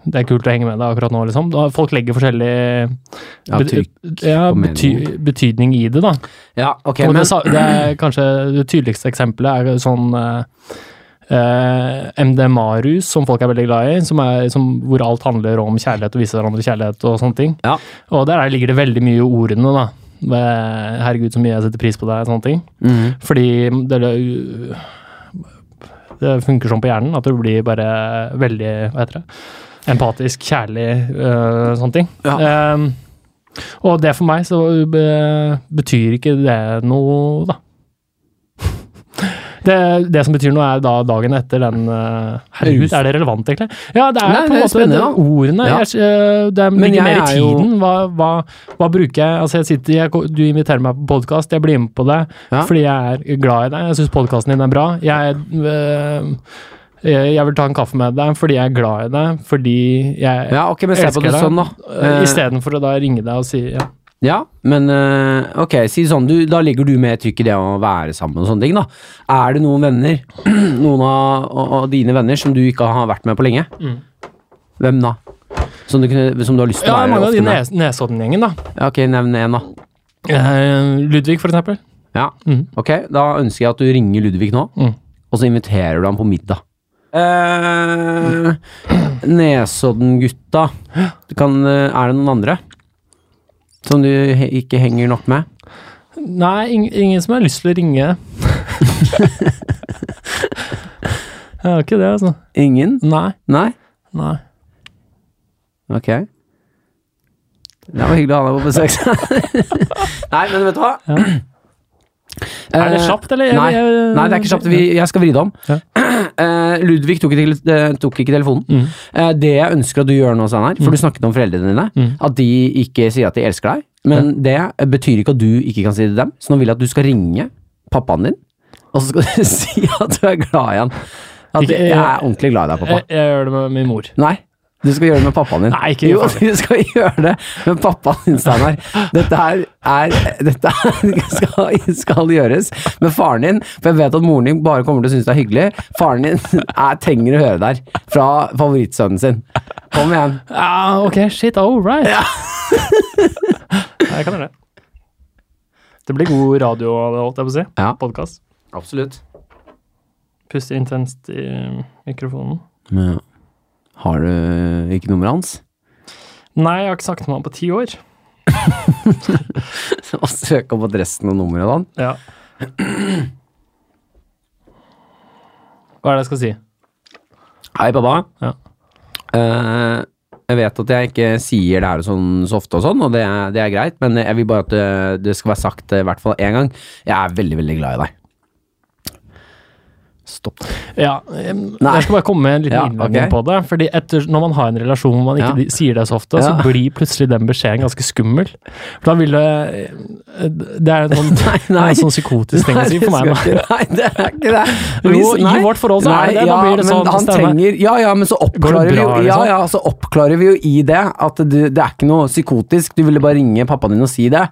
[SPEAKER 2] det er kult å henge med deg akkurat nå, liksom. Da, folk legger forskjellig
[SPEAKER 1] Ja,
[SPEAKER 2] bet-
[SPEAKER 1] trykk
[SPEAKER 2] ja,
[SPEAKER 1] på
[SPEAKER 2] bety betydning i det, da.
[SPEAKER 1] ja ok,
[SPEAKER 2] Og
[SPEAKER 1] men
[SPEAKER 2] det, sa- det er kanskje det tydeligste eksempelet er sånn eh, eh, MDMA-rus, som folk er veldig glad i, som er, som, hvor alt handler om kjærlighet og vise hverandre kjærlighet og sånne ting.
[SPEAKER 1] Ja.
[SPEAKER 2] Og der er- ligger det veldig mye i ordene, da. Eh, Herregud, så mye jeg setter pris på deg, og sånne ting.
[SPEAKER 1] Mhm.
[SPEAKER 2] Fordi det, det funker sånn på hjernen at du blir bare veldig Hva heter det? Empatisk, kjærlig, øh, sånne ting. Ehm, og det for meg så be, betyr ikke det noe, da. Det, det som betyr noe, er da dagen etter den øh, Herregud, er det relevant, egentlig? Ja, det er
[SPEAKER 1] Nei,
[SPEAKER 2] på
[SPEAKER 1] det er
[SPEAKER 2] en måte
[SPEAKER 1] spennende,
[SPEAKER 2] det,
[SPEAKER 1] da.
[SPEAKER 2] ordene
[SPEAKER 1] Ja.
[SPEAKER 2] jeg, øh, Det
[SPEAKER 1] Men
[SPEAKER 2] ligger
[SPEAKER 1] jeg
[SPEAKER 2] mer i
[SPEAKER 1] er jo-
[SPEAKER 2] tiden. Hva, hva, hva bruker jeg? Altså, jeg sitter, jeg, du inviterer meg på podkast, jeg blir med på det
[SPEAKER 1] Ja.
[SPEAKER 2] fordi jeg er glad i deg. Jeg syns podkasten din er bra. Jeg, øh, jeg jeg vil ta en kaffe med deg fordi jeg er glad i deg, fordi jeg ja.
[SPEAKER 1] ja, ok, men se på
[SPEAKER 2] elsker
[SPEAKER 1] det
[SPEAKER 2] deg.
[SPEAKER 1] sånn, da. Eh,
[SPEAKER 2] Istedenfor å da ringe deg og si ja.
[SPEAKER 1] Ja, men eh, ok, si det sånn, du, da ligger du med trykk i det å være sammen og sånne ting da. Er det noen venner, noen av, av dine venner som du ikke har vært med på lenge?
[SPEAKER 2] Mm.
[SPEAKER 1] Hvem da? Som du, kunne, som du har lyst til
[SPEAKER 2] Ja,
[SPEAKER 1] å være
[SPEAKER 2] mange av de
[SPEAKER 1] ofte med?
[SPEAKER 2] nes Nesodden-gjengen, da.
[SPEAKER 1] Ja, ok, nevn en da.
[SPEAKER 2] Eh, Ludvig, for eksempel.
[SPEAKER 1] Ja,
[SPEAKER 2] Mm.
[SPEAKER 1] ok, da ønsker jeg at du ringer Ludvig nå,
[SPEAKER 2] Mm.
[SPEAKER 1] og så inviterer du ham på middag. Eh, Nesodden gutta, du kan, eh, er det noen andre? Som du he ikke henger nok med?
[SPEAKER 2] Nei, ing ingen som har lyst til å ringe. Jeg har ikke det, altså.
[SPEAKER 1] Ingen?
[SPEAKER 2] Nei.
[SPEAKER 1] Nei?
[SPEAKER 2] Nei.
[SPEAKER 1] Ok. Det var hyggelig å ha deg på besøk. nei, men vet du hva?
[SPEAKER 2] Er det kjapt, eller? Jeg-
[SPEAKER 1] Eh, Nei,
[SPEAKER 2] jeg-
[SPEAKER 1] nei det er ikke kjapt. Vi, jeg skal vri det om.
[SPEAKER 2] Ja.
[SPEAKER 1] Eh, Ludvig tok ikke, til, eh, tok ikke telefonen.
[SPEAKER 2] Mm.
[SPEAKER 1] Eh, det jeg ønsker at du gjør nå, Steinar, for du snakket om foreldrene dine,
[SPEAKER 2] Mm.
[SPEAKER 1] at de ikke sier at de elsker deg, men det betyr ikke at du ikke kan si det til dem. Så nå vil jeg at du skal ringe pappaen din, og så skal du si at du er glad i han. At
[SPEAKER 2] Ikke-
[SPEAKER 1] jeg er ordentlig glad i deg, pappa.
[SPEAKER 2] Jeg, jeg gjør det med min mor.
[SPEAKER 1] Nei. Du skal gjøre det med pappaen din.
[SPEAKER 2] Nei, ikke
[SPEAKER 1] jo,
[SPEAKER 2] gjør
[SPEAKER 1] du skal gjøre det med pappaen din, Steinar. Dette her er Dette her skal, skal gjøres med faren din, for jeg vet at moren din bare kommer til å synes det er hyggelig. Faren din er, trenger å høre det her fra favorittsønnen sin. Kom igjen.
[SPEAKER 2] Ja, Ah, ok, shit, all right. jeg kan gjøre det. Det blir god radio, holdt jeg på å si.
[SPEAKER 1] Ja.
[SPEAKER 2] Podkast.
[SPEAKER 1] Absolutt.
[SPEAKER 2] Puster intenst i mikrofonen.
[SPEAKER 1] Har du ikke nummeret hans?
[SPEAKER 2] Nei, jeg har ikke snakket med han på ti år.
[SPEAKER 1] Og søk opp adressen og nummeret hans.
[SPEAKER 2] Ja. Hva er det jeg skal si?
[SPEAKER 1] Hei, pappa.
[SPEAKER 2] Ja.
[SPEAKER 1] Eh, jeg vet at jeg ikke sier det her sånn så ofte og sånn, og det er, det er greit, men jeg vil bare at det, det skal være sagt eh, i hvert fall én gang. Jeg er veldig, veldig glad i deg. Stopp.
[SPEAKER 2] Ja, em,
[SPEAKER 1] Nei.
[SPEAKER 2] Jeg skal bare komme med en liten
[SPEAKER 1] Ja,
[SPEAKER 2] innvending
[SPEAKER 1] ok.
[SPEAKER 2] på det. Fordi etter, Når man har en relasjon hvor man ikke
[SPEAKER 1] Ja.
[SPEAKER 2] di- sier det så ofte,
[SPEAKER 1] Ja.
[SPEAKER 2] så blir plutselig den beskjeden ganske skummel. For da vil det Det er en sånn,
[SPEAKER 1] Nei,
[SPEAKER 2] det er
[SPEAKER 1] nei.
[SPEAKER 2] en sånn psykotisk ting å si for meg.
[SPEAKER 1] Nei,
[SPEAKER 2] da.
[SPEAKER 1] det skal ikke- Nei, det er ikke det.
[SPEAKER 2] Jo,
[SPEAKER 1] Hvis-
[SPEAKER 2] i
[SPEAKER 1] nei.
[SPEAKER 2] vårt forhold så er det det, da
[SPEAKER 1] ja,
[SPEAKER 2] blir det
[SPEAKER 1] men
[SPEAKER 2] sånn,
[SPEAKER 1] Han
[SPEAKER 2] Steinar.
[SPEAKER 1] trenger, ja, ja, men så oppklarer,
[SPEAKER 2] bra,
[SPEAKER 1] vi, jo, ja,
[SPEAKER 2] liksom?
[SPEAKER 1] ja, så oppklarer vi jo i det at det, det er ikke noe psykotisk. Du ville bare ringe pappaen din og si det.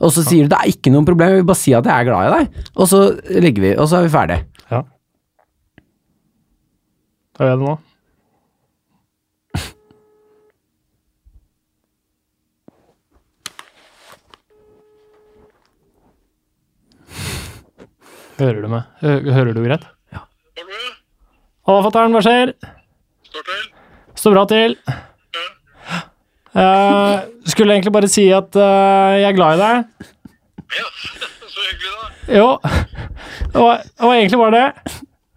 [SPEAKER 1] Og så sier du det er ikke noe problem, jeg vil bare si at jeg er glad i deg. Og så legger vi, og så er vi ferdig.
[SPEAKER 2] Ja. Da gjør jeg det nå. Hører du meg? Hø- Hører du greit?
[SPEAKER 4] Går det bra?
[SPEAKER 2] Halla, fatter'n, hva skjer?
[SPEAKER 4] Står til?
[SPEAKER 2] Står bra til. Eh, skulle egentlig bare si at eh, jeg er glad i deg.
[SPEAKER 4] Ja, så hyggelig da.
[SPEAKER 2] Jo. Det var, det var egentlig bare det.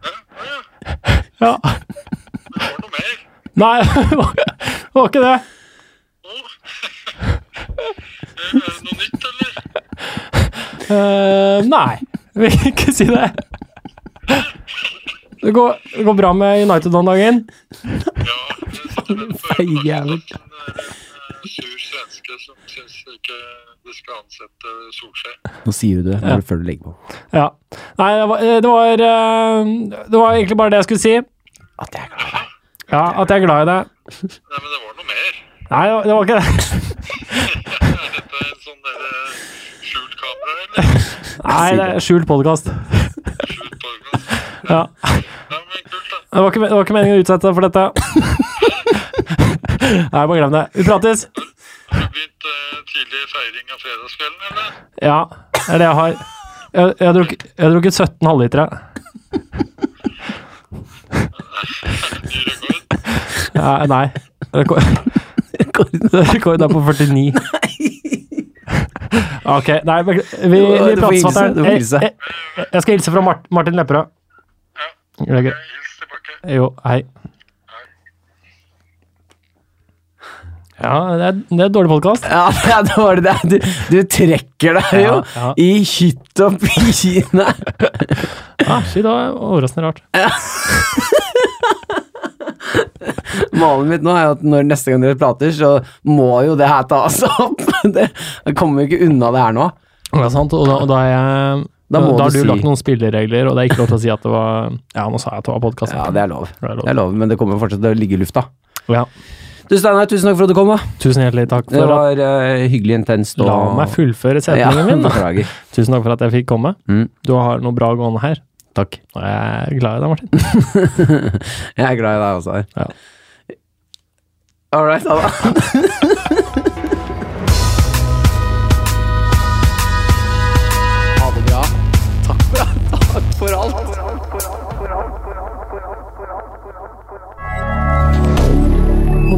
[SPEAKER 4] Ja, ja, ja.
[SPEAKER 2] Ja.
[SPEAKER 4] Men det var noe mer.
[SPEAKER 2] Nei, det var det var ikke det.
[SPEAKER 4] Åh. Er det noe nytt, eller?
[SPEAKER 2] Eh, nei, jeg vil ikke si det. Det går, det går bra med United om dagen.
[SPEAKER 4] Ja, jeg sitter med på
[SPEAKER 1] Feil jævel.
[SPEAKER 4] øyeblikket, men det er en eh, sur svenske som synes ikke de skal ansette Solskjær.
[SPEAKER 1] Nå sier du det når du- før du legger på.
[SPEAKER 2] Ja. Nei, det var, det var, eh, det var egentlig bare det jeg skulle si.
[SPEAKER 1] At jeg er glad i deg.
[SPEAKER 2] Ja, At jeg er glad i deg.
[SPEAKER 4] Nei, men det var noe mer.
[SPEAKER 2] Nei, det var, det var ikke det.
[SPEAKER 4] Er dette en sånn der eh, skjult kamera, eller?
[SPEAKER 2] Nei, det er skjult podkast.
[SPEAKER 4] Skjult podcast.
[SPEAKER 2] Ja.
[SPEAKER 4] Ja, men kult da.
[SPEAKER 2] Det, var ikke- det var ikke meningen å utsette deg for dette. Nei, bare glem det. Vi prates.
[SPEAKER 4] Har du begynt eh, tidlig feiring av fredagskvelden, eller?
[SPEAKER 2] Ja, det er det jeg har. Jeg, jeg, har drukket, jeg har drukket 17 halvlitere.
[SPEAKER 4] Ny rekord.
[SPEAKER 2] Ja, nei. Rekord. Rekorden er på 49. Ok, nei, bekl- vi,
[SPEAKER 1] Du-
[SPEAKER 2] vi
[SPEAKER 1] du får
[SPEAKER 2] prates,
[SPEAKER 1] hilse,
[SPEAKER 2] fatter'n.
[SPEAKER 1] du får
[SPEAKER 2] Jeg,
[SPEAKER 1] hilse.
[SPEAKER 2] jeg, jeg- jeg skal hilse fra Mart, Martin Lepperød. Er det gøy?
[SPEAKER 4] Hils tilbake.
[SPEAKER 2] Jo, hei. Ja, det er, det er en dårlig podkast.
[SPEAKER 1] Ja, ja, det var det. Du, du trekker deg jo
[SPEAKER 2] Ja, ja.
[SPEAKER 1] i hytt og pine.
[SPEAKER 2] Ah, shit, det var overraskende rart.
[SPEAKER 1] Målet mitt nå er jo at når neste gang dere prater, så må jo det her tas opp. Det, jeg kommer jo ikke unna det her nå.
[SPEAKER 2] Det er sant, og da, og da, er jeg,
[SPEAKER 1] Da
[SPEAKER 2] da,
[SPEAKER 1] må
[SPEAKER 2] har
[SPEAKER 1] du
[SPEAKER 2] du
[SPEAKER 1] si-
[SPEAKER 2] lagt noen spilleregler, og det er ikke lov til å si at det var Ja, nå sa jeg at det var podkast.
[SPEAKER 1] Ja, det er lov.
[SPEAKER 2] Det er lov.
[SPEAKER 1] Det er lov, men det kommer fortsatt til å ligge i lufta.
[SPEAKER 2] Ja.
[SPEAKER 1] Du Steinar, tusen takk for at du kom. da.
[SPEAKER 2] Tusen hjertelig takk
[SPEAKER 1] Det
[SPEAKER 2] for at
[SPEAKER 1] var eh, hyggelig intenst.
[SPEAKER 2] La meg fullføre setningen min. da.
[SPEAKER 1] Beklager.
[SPEAKER 2] Tusen takk for at jeg fikk komme.
[SPEAKER 1] Mm.
[SPEAKER 2] Du har noe bra gående her.
[SPEAKER 1] Takk.
[SPEAKER 2] Og jeg er glad i deg, Martin.
[SPEAKER 1] Jeg er glad i deg også.
[SPEAKER 2] Ja.
[SPEAKER 1] All right, ha det. Ha det bra. Takk for, takk for alt.